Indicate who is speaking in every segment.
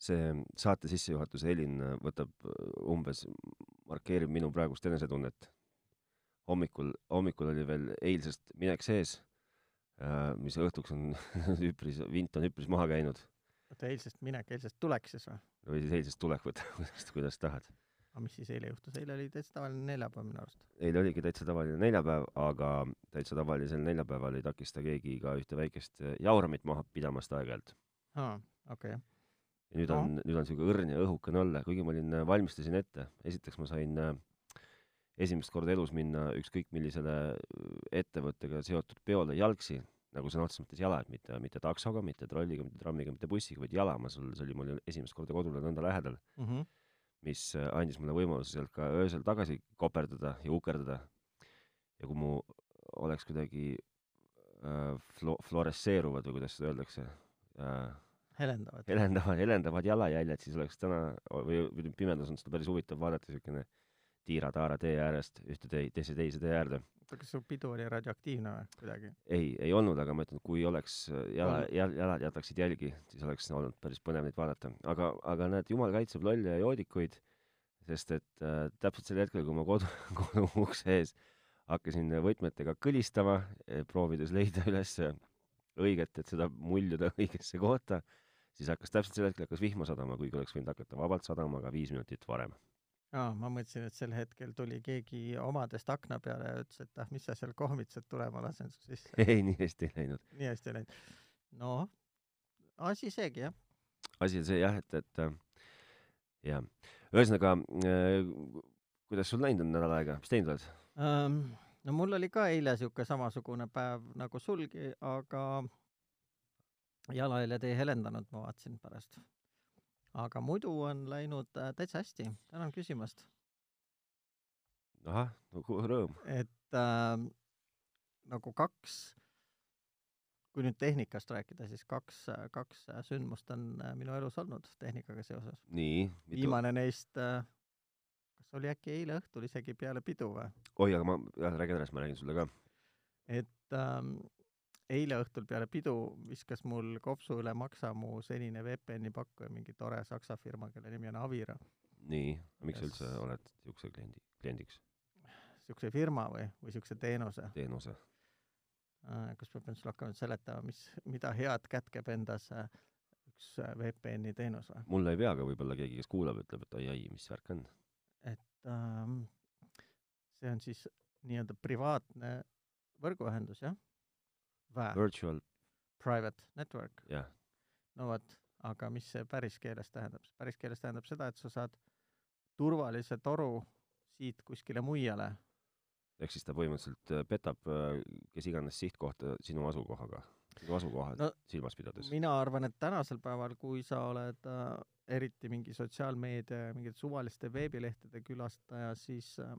Speaker 1: see saate sissejuhatuse helin äh, võtab umbes, markeerib minu praegust enesetunnet. hommikul, hommikul oli veel eilsest minek sees, äh, mis õhtuks on üpris, vint on üpris maha käinud.
Speaker 2: oota, eilsest minek, eilsest tulek siis või?
Speaker 1: või siis eilsest tulek võtta, kuidas, kuidas tahad.
Speaker 2: aga mis siis eile juhtus, eile oli täitsa tavaline neljapäev minu arust.
Speaker 1: eile oligi täitsa tavaline neljapäev, aga täitsa tavalisel neljapäeval ei takista keegi ka ühte väikest jauramit maha pidamast aeg-ajalt.
Speaker 2: aa, okei okay
Speaker 1: ja nüüd on no., nüüd on siuke õrn ja õhukene olla, kuigi ma olin, äh, valmistasin ette, esiteks ma sain äh, esimest korda elus minna ükskõik millisele äh, ettevõttega seotud peole jalgsi, nagu sõna otseses mõttes jala, et mitte, mitte taksoga, mitte trolliga, mitte trammiga, mitte bussiga, vaid jala, ma sul, see oli mul esimest korda kodule nõnda lähedal
Speaker 2: mm, -hmm.
Speaker 1: mis äh, andis mulle võimaluse sealt ka öösel tagasi koperdada ja ukerdada. ja kui mu oleks kuidagi äh, flo-, fluoresseeruvad või kuidas seda öeldakse äh,,
Speaker 2: helendavad.
Speaker 1: helendavad, helendavad jalajäljed, siis oleks täna või, või pimedas on seda päris huvitav vaadata, niisugune tiira-taara tee äärest ühte tee, teise teise tee äärde.
Speaker 2: oota, kas su pidu oli radioaktiivne või kuidagi?
Speaker 1: ei, ei olnud, aga ma ütlen, kui oleks äh, jala, jal-, jalad jätaksid jälgi, siis oleks olnud päris põnev neid vaadata. aga, aga näed, jumal kaitseb lolle ja joodikuid, sest et äh, täpselt sel hetkel, kui ma kodu, kodu ukse ees hakkasin võtmetega kõlistama, eh, proovides leida üles õiget, et seda muljuda õigesse kohta siis hakkas täpselt sel hetkel hakkas vihma sadama, kuigi oleks võinud hakata vabalt sadama ka viis minutit varem.
Speaker 2: aa, ma mõtlesin, et sel hetkel tuli keegi omadest akna peale ja ütles, et ah, mis sa seal kohmitsed, tule, ma lasen su sisse.
Speaker 1: ei, nii hästi ei läinud.
Speaker 2: nii hästi ei läinud. no, asi seegi, jah.
Speaker 1: asi on see jah, et, et jah. ühesõnaga äh,, kuidas sul läinud on nädal aega, mis teinud oled
Speaker 2: um,? no mul oli ka eile siuke samasugune päev nagu sulgi, aga jalajäljed ei helendanud, ma vaatasin pärast. aga muidu on läinud äh, täitsa hästi, tänan küsimast.
Speaker 1: ahah, no kuhu rõõm.
Speaker 2: et äh, nagu kaks, kui nüüd tehnikast rääkida, siis kaks, äh, kaks sündmust on äh, minu elus olnud tehnikaga seoses.
Speaker 1: nii
Speaker 2: mitu...? viimane neist äh, kas oli äkki eile õhtul isegi peale pidu või?
Speaker 1: oi, aga ma, jah, räägi edasi, ma räägin sulle ka.
Speaker 2: et ähm, eile õhtul peale pidu viskas mul kopsu üle maksa mu senine VPN-i pakkuja, mingi tore saksa firma, kelle nimi on Avira.
Speaker 1: nii, miks sa yes. üldse oled niisuguse kliendi, kliendiks?
Speaker 2: niisuguse firma või, või niisuguse teenuse?
Speaker 1: teenuse.
Speaker 2: kas ma pean sulle hakkama seletama, mis, mida head kätkeb endas äh, üks äh, VPN-i teenus või?
Speaker 1: mulle ei pea, aga võib-olla keegi, kes kuulab, ütleb, et ai-ai, mis värk on.
Speaker 2: et ähm, see on siis nii-öelda privaatne võrguühendus, jah Ah.
Speaker 1: Vää. Virtual
Speaker 2: Private Network.
Speaker 1: jah yeah..
Speaker 2: no vot, aga mis see päris keeles tähendab? päris keeles tähendab seda, et sa saad turvalise toru siit kuskile mujale.
Speaker 1: ehk siis ta põhimõtteliselt äh, petab kes iganes sihtkohta sinu asukohaga, sinu asukoha no, silmas pidades.
Speaker 2: mina arvan, et tänasel päeval, kui sa oled äh, eriti mingi sotsiaalmeedia ja mingite suvaliste veebilehtede külastaja, siis äh,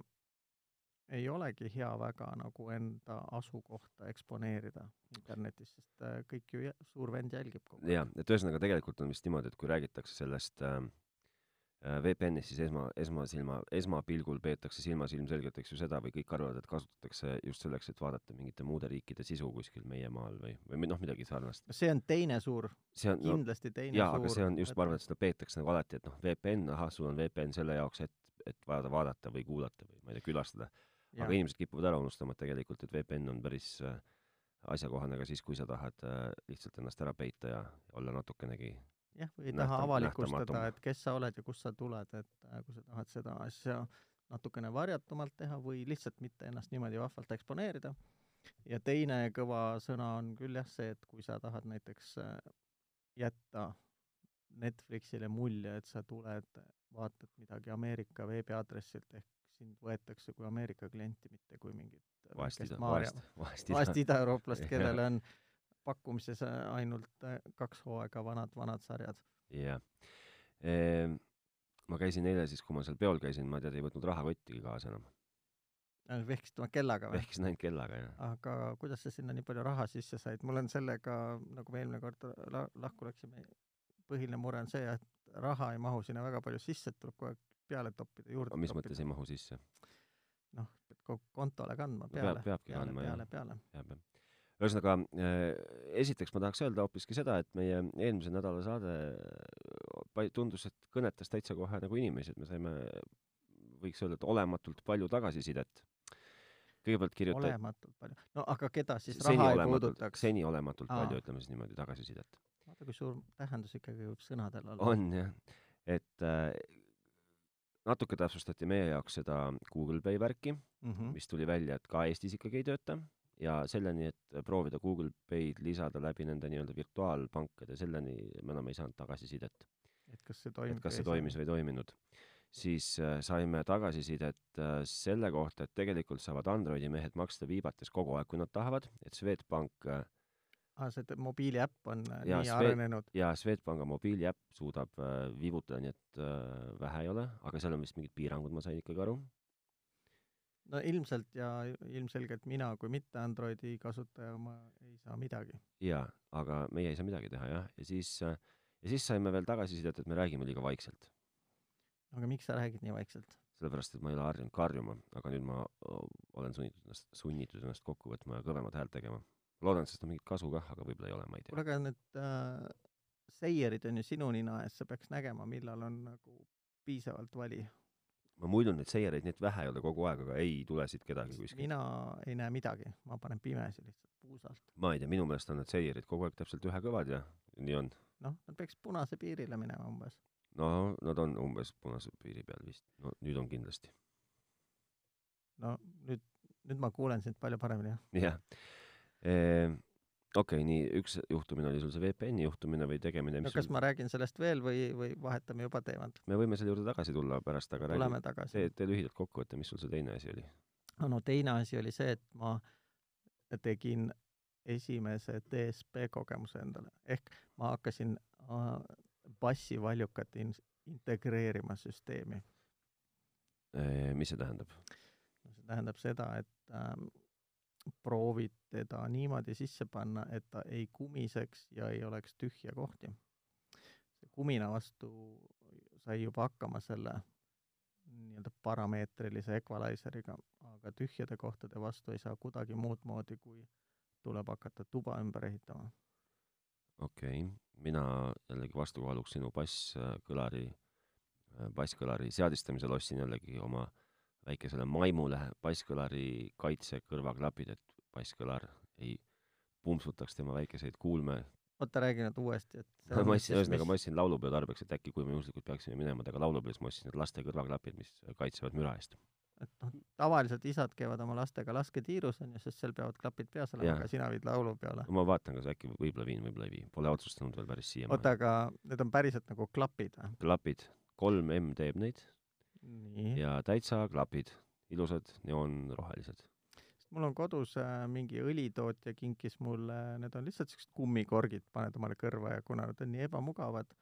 Speaker 2: ei olegi hea väga nagu enda asukohta eksponeerida internetis, sest äh, kõik ju suur vend jälgib kogu
Speaker 1: aeg. jah, et ühesõnaga tegelikult on vist niimoodi, et kui räägitakse sellest äh, VPN-ist, siis esma, esmasilma, esmapilgul peetakse silmas ilmselgelt, eks ju, seda või kõik arvavad, et kasutatakse just selleks, et vaadata mingite muude riikide sisu kuskil meie maal või, või noh, midagi sarnast.
Speaker 2: see on teine suur, kindlasti
Speaker 1: no,
Speaker 2: teine
Speaker 1: jaa,
Speaker 2: suur.
Speaker 1: aga see on just, ma arvan, et seda peetakse nagu alati, et noh, VPN, ahah, sul on VPN selle jaoks, et, et vaadata, vaadata või kuulata või ma ei tea, külastada Ja. aga inimesed kipuvad ära unustama, et tegelikult, et VPN on päris äh, asjakohane ka siis, kui sa tahad äh, lihtsalt ennast ära peita ja olla natukenegi
Speaker 2: jah, või ei taha avalikustada, et kes sa oled ja kust sa tuled, et äh, kui sa tahad seda asja natukene varjatumalt teha või lihtsalt mitte ennast niimoodi vahvalt eksponeerida. ja teine kõva sõna on küll jah see, et kui sa tahad näiteks äh, jätta Netflixile mulje, et sa tuled, vaatad midagi Ameerika veebiaadressilt ehk sind võetakse kui Ameerika klienti, mitte kui mingit
Speaker 1: vahest ida, vahest,
Speaker 2: vahest, vahest idaeurooplast, kellel on pakkumises ainult äh, kaks hooaega vanad, vanad sarjad.
Speaker 1: jah yeah.. Ehm, ma käisin eile siis, kui ma seal peol käisin, ma tead, ei võtnud rahakottigi kaasa enam.
Speaker 2: vehkisid oma Äh, kellaga või?
Speaker 1: vehkisin ainult kellaga, jah.
Speaker 2: aga kuidas sa sinna nii palju raha sisse said? mul on sellega, nagu me eelmine kord la lahku läksime, põhiline mure on see, et raha ei mahu sinna väga palju sisse, et tuleb kogu aeg peale toppida, juurde
Speaker 1: aga mis toppida. mõttes ei mahu sisse?
Speaker 2: noh, pead kogu kontole kandma
Speaker 1: peale no. peab, peabki
Speaker 2: peale,
Speaker 1: kandma,
Speaker 2: peale, peale,
Speaker 1: jah. ühesõnaga, eh, esiteks ma tahaks öelda hoopiski seda, et meie eelmise nädala saade eh, tundus, et kõnetas täitsa kohe nagu inimesi, et me saime, võiks öelda, et olematult palju tagasisidet. kõigepealt kirjuta-
Speaker 2: olematult palju. no aga keda siis
Speaker 1: seni
Speaker 2: raha ei
Speaker 1: olematult-
Speaker 2: puudutaks?
Speaker 1: seni olematult
Speaker 2: Aa.
Speaker 1: palju , ütleme siis niimoodi, tagasisidet.
Speaker 2: vaata , kui suur tähendus ikkagi võib sõnadel olla .
Speaker 1: on jah , et äh, natuke täpsustati meie jaoks seda Google Pay värki,
Speaker 2: mm .
Speaker 1: mis tuli välja , et ka Eestis ikkagi ei tööta ja selleni , et proovida Google Pay'd lisada läbi nende nii-öelda virtuaalpankade , selleni me enam ei saanud tagasisidet ,
Speaker 2: -hmm. et kas see
Speaker 1: et
Speaker 2: toimib .
Speaker 1: kas see toimis ? või ei toiminud . siis äh, saime tagasisidet äh, selle kohta , et tegelikult saavad Androidi mehed maksta viibates kogu aeg , kui nad tahavad , et Swedbank äh,
Speaker 2: aa , Ah, see te- mobiiliäpp on äh,
Speaker 1: Jaa,
Speaker 2: nii
Speaker 1: Sve-
Speaker 2: arenenud .
Speaker 1: ja Swedbanka mobiiliäpp suudab äh, viibutada , nii et äh, vähe ei ole , aga seal on vist mingid piirangud , ma sain ikkagi aru .
Speaker 2: no ilmselt ja ilmselgelt mina kui mitte Androidi kasutaja , ma ei saa midagi .
Speaker 1: jaa , aga meie ei saa midagi teha jah , ja siis äh, , ja siis saime veel tagasisidet , et me räägime liiga vaikselt .
Speaker 2: aga miks sa räägid nii vaikselt ?
Speaker 1: sellepärast , et ma ei ole harjunud karjuma , aga nüüd ma o, olen sunnitud ennast , sunnitud ennast kokku võtma ja kõvemat häält tegema . loodan , et sellest on mingit kasu kah , aga võib-olla ei ole , ma ei
Speaker 2: kuule ,
Speaker 1: tea .
Speaker 2: aga need äh, seierid on ju sinu nina ees , sa peaks nägema , millal on nagu piisavalt vali .
Speaker 1: ma muidu neid seiereid , neid vähe ei ole kogu aeg , aga ei tule siit kedagi kuskilt .
Speaker 2: mina ei näe midagi , ma panen pimesi lihtsalt puusalt .
Speaker 1: ma ei tea , minu meelest on need seierid kogu aeg täpselt ühekõvad ja nii on .
Speaker 2: noh , nad peaks punase piirile minema umbes .
Speaker 1: no nad on umbes punase piiri peal vist , no nüüd on kindlasti .
Speaker 2: no nüüd , nüüd ma kuulen sind palju paremini , jah .
Speaker 1: jah . okei okay, , nii üks juhtumine oli sul see VPN-i juhtumine või tegemine ,
Speaker 2: no
Speaker 1: mis
Speaker 2: kas
Speaker 1: sul...
Speaker 2: ma räägin sellest veel või , või vahetame juba teemat ?
Speaker 1: me võime selle juurde tagasi tulla pärast , aga räägi ,
Speaker 2: tuleme
Speaker 1: tee
Speaker 2: tagasi .,
Speaker 1: tee lühidalt kokkuvõte , mis sul see teine asi oli ?
Speaker 2: no teine asi oli see , et ma tegin esimese DSP kogemuse endale ehk ma hakkasin äh, bassivaljukat in- integreerima süsteemi .
Speaker 1: Ehm, mis see tähendab ?
Speaker 2: no see tähendab seda , et ähm, proovid teda niimoodi sisse panna , et ta ei kumiseks ja ei oleks tühja kohti . see kumina vastu sai juba hakkama selle nii-öelda parameetrilise equalizeriga , aga tühjade kohtade vastu ei saa kuidagi muud moodi , kui tuleb hakata tuba ümber ehitama .
Speaker 1: okei okay. , mina jällegi vastukaaluks sinu basskõlari , äh, basskõlari seadistamisel ostsin jällegi oma väikesele maimule basskõlari kaitse kõrvaklapid , et basskõlar ei pumpsutaks tema väikeseid kuulme ,
Speaker 2: oota , räägi nüüd uuesti , et
Speaker 1: ma ostsin , ühesõnaga ma ostsin laulupeo tarbeks , et äkki kui me juhuslikult peaksime minema temaga laulupeole , siis ma ostsin need laste kõrvaklapid , mis kaitsevad müra eest .
Speaker 2: et noh , tavaliselt isad käivad oma lastega lasketiirus , on ju , sest seal peavad klapid peas olema
Speaker 1: Jah. ,
Speaker 2: aga sina viid laulu peale .
Speaker 1: ma vaatan , kas äkki võib-olla viin , võib-olla ei vii , pole otsustanud veel päris
Speaker 2: oota ,
Speaker 1: siiamaani .
Speaker 2: aga need on päriselt nagu klapid või ?
Speaker 1: klapid , kolm M teeb neid
Speaker 2: nii
Speaker 1: ja täitsa klapid , ilusad neoonrohelised .
Speaker 2: mul on kodus äh, mingi õlitootja kinkis mulle , need on lihtsalt siuksed kummikorgid , paned omale kõrva ja kuna nad on nii ebamugavad ,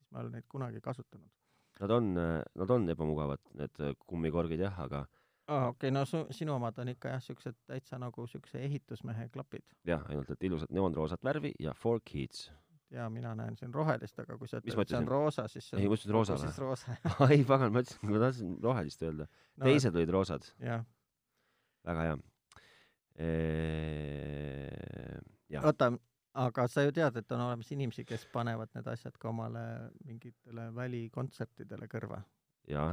Speaker 2: siis ma ei ole neid kunagi kasutanud .
Speaker 1: Nad on , nad on ebamugavad , need äh, kummikorgid jah , aga
Speaker 2: aa , okei okay, , no su- , sinu omad on ikka jah , siuksed täitsa nagu siukse ehitusmehe klapid
Speaker 1: jah , ainult et ilusat neoonroosat värvi ja four kids .
Speaker 2: ja mina näen siin rohelist , aga kui sa
Speaker 1: Mis
Speaker 2: ütled , et see on
Speaker 1: mõttes?
Speaker 2: roosa , siis see
Speaker 1: ei ,
Speaker 2: on
Speaker 1: ma ütlesin roosa
Speaker 2: siis
Speaker 1: või ?
Speaker 2: roosa .
Speaker 1: ei , pagan , ma ütlesin , ma tahtsin rohelist öelda . teised olid roosad ,
Speaker 2: jah ,
Speaker 1: väga hea . jah ,
Speaker 2: oota , aga sa ju tead , et on olemas inimesi , kes panevad need asjad ka omale mingitele välikontsertidele kõrva .
Speaker 1: ja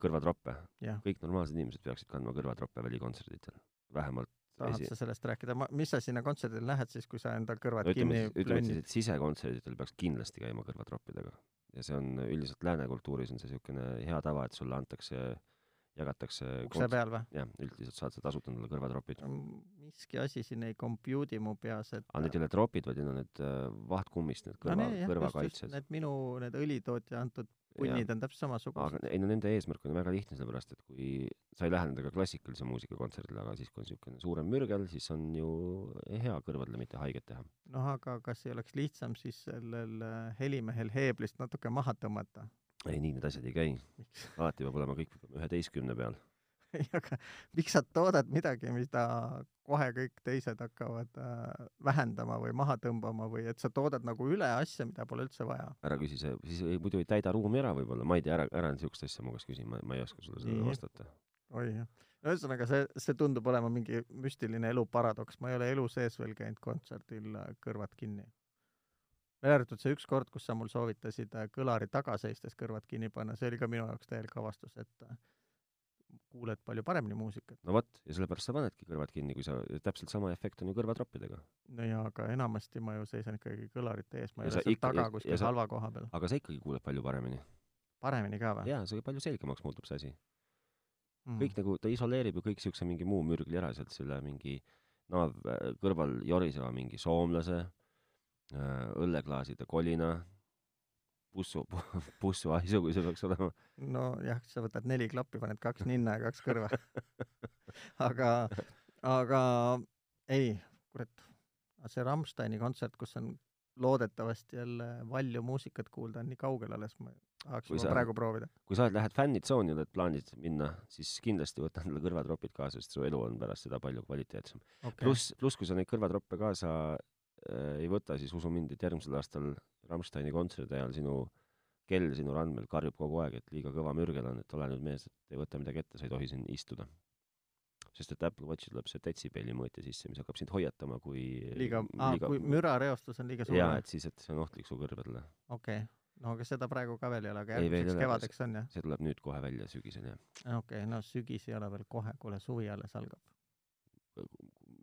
Speaker 1: kõrvatroppe .
Speaker 2: jah ,
Speaker 1: kõik normaalsed inimesed peaksid kandma kõrvatroppe välikontserditel . vähemalt
Speaker 2: tahad
Speaker 1: esi-
Speaker 2: sa sellest rääkida , ma , mis sa sinna kontserdile lähed siis , kui sa endal kõrvad
Speaker 1: no ütleme
Speaker 2: kinni
Speaker 1: siis , ütleme
Speaker 2: plönnid?
Speaker 1: siis , et sisekontserditel peaks kindlasti käima kõrvatroppidega . ja see on üldiselt lääne kultuuris on see niisugune hea tava , et sulle antakse , jagatakse
Speaker 2: ukse
Speaker 1: konts-
Speaker 2: peal või ?
Speaker 1: jah , üldiselt saad sa tasuta endale kõrvatropid .
Speaker 2: miski asi siin ei compute'i mu peas , et
Speaker 1: aga need ei ole tropid , vaid need on need äh, vahtkummist , need
Speaker 2: No
Speaker 1: kõrva
Speaker 2: nii, , jah, just- just
Speaker 1: kõrvakaitsed .
Speaker 2: Need minu , need õlitootja antud punnid on täpselt samasugused .
Speaker 1: aga ei no nende eesmärk on väga lihtne , sellepärast et kui sa ei lähe nendega klassikalise muusika kontserdile , aga siis , kui on niisugune suurem mürgel , siis on ju eh, hea kõrvadele mitte haiget teha .
Speaker 2: noh , aga kas ei oleks lihtsam siis sellel äh, helimehel heeblist natuke maha tõmmata ?
Speaker 1: ei , nii need asjad ei käi .
Speaker 2: miks ,
Speaker 1: alati peab olema kõik üheteistkümne peal .
Speaker 2: ei aga miks sa toodad midagi , mida kohe kõik teised hakkavad äh, vähendama või maha tõmbama või et sa toodad nagu üle asja , mida pole üldse vaja ?
Speaker 1: ära küsi see , siis ei, muidu ei täida ruumi ära võib-olla , ma ei tea , ära , ära niisugust asja mu käest küsi , ma , ma ei oska sulle
Speaker 2: Nii.
Speaker 1: sellele vastata .
Speaker 2: oi jah , ühesõnaga see, see tundub olema mingi müstiline elu paradoks, ma ei ole elu sees veel käinud kontserdil äh, kõrvad kinni. välja arvatud see üks kord, kus sa mul soovitasid äh, kõlari taga seistes kõrvad kinni panna, see oli ka minu jaoks täielik avastus, et äh, kuuled palju paremini muusikat.
Speaker 1: no vot, ja sellepärast sa panedki kõrvad kinni, kui sa, täpselt sama efekt on ju kõrvatroppidega.
Speaker 2: no jaa, aga enamasti ma ju seisan ikkagi kõlarite ees, ma
Speaker 1: Ja
Speaker 2: ei
Speaker 1: sa
Speaker 2: ole seal
Speaker 1: ikka- ja-
Speaker 2: taga
Speaker 1: ja
Speaker 2: kuskil
Speaker 1: sa-
Speaker 2: halva koha peal.
Speaker 1: aga sa ikkagi kuuled palju paremini.
Speaker 2: paremini ka või ?
Speaker 1: jaa , see palju selgemaks muutub see asi.
Speaker 2: Mm.
Speaker 1: kõik . nagu, ta isoleerib ju kõik siukse mingi muu mürgli ära sealt selle mingi naav kõrval joriseva mingi soomlase äh, õlleklaaside kolina pussu pussu haisu kui see peaks olema
Speaker 2: nojah , sa võtad neli klappi , paned kaks ninna ja kaks kõrva . aga , aga ei , kurat , see Rammsteini kontsert , kus on loodetavasti jälle valju muusikat kuulda , on nii kaugel alles , ma tahaks
Speaker 1: Kui
Speaker 2: juba
Speaker 1: sa-
Speaker 2: praegu proovida .
Speaker 1: kui sa oled lähed fännitsooni oled plaanid minna siis kindlasti võta endale kõrvatropid kaasa sest su elu on pärast seda palju kvaliteetsem
Speaker 2: Okay.
Speaker 1: pluss , pluss kui sa neid kõrvatroppe kaasa äh, ei võta , siis usu mind , et järgmisel aastal Rammsteini kontserdi ajal sinu kell sinu randmel karjub kogu aeg , et liiga kõva mürgel on , et ole nüüd mees , et ei võta midagi ette , sa ei tohi siin istuda . sest et Apple Watchi tuleb see detsibelli mõõtja sisse , mis hakkab sind hoiatama , kui
Speaker 2: liiga , aa , kui mürareostus on liiga suur
Speaker 1: jaa ,
Speaker 2: või ?
Speaker 1: et siis , et see on ohtlik su kõrvadele .
Speaker 2: okei , no aga seda praegu ka veel ei ole , aga
Speaker 1: Ei, veel ei
Speaker 2: järgmiseks
Speaker 1: ole,
Speaker 2: kevadeks on jah ?
Speaker 1: see tuleb nüüd kohe välja sügisel ja
Speaker 2: okei okay, , no sügis ei ole veel kohe , kuule suvi alles algab .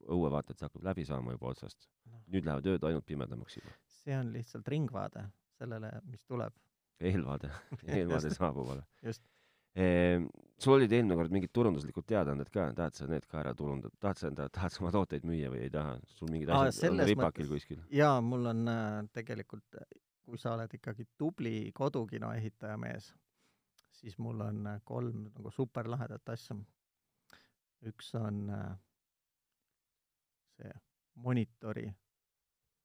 Speaker 1: õue vaata , et see hakkab läbi saama juba otsast
Speaker 2: Noh. .
Speaker 1: nüüd lähevad ööd ainult pimedamaks juba .
Speaker 2: see on lihtsalt ringvaade sellele , mis tuleb .
Speaker 1: eelvaade , eelvaade saabuvale .
Speaker 2: Just. .
Speaker 1: Ehm, sul olid eelmine kord mingid turunduslikud teadaanded ka , tahad sa need ka ära turundada , tahad sa enda , tahad sa oma tooteid müüa või ei taha , sul mingid
Speaker 2: Aa,
Speaker 1: asjad on
Speaker 2: selles
Speaker 1: ripakil
Speaker 2: mõttes-
Speaker 1: kuskil ?
Speaker 2: jaa , mul on äh, tegelikult , kui sa oled ikkagi tubli kodukino ehitaja mees , siis mul on äh, kolm nagu superlahedat asja . üks on äh, see monitori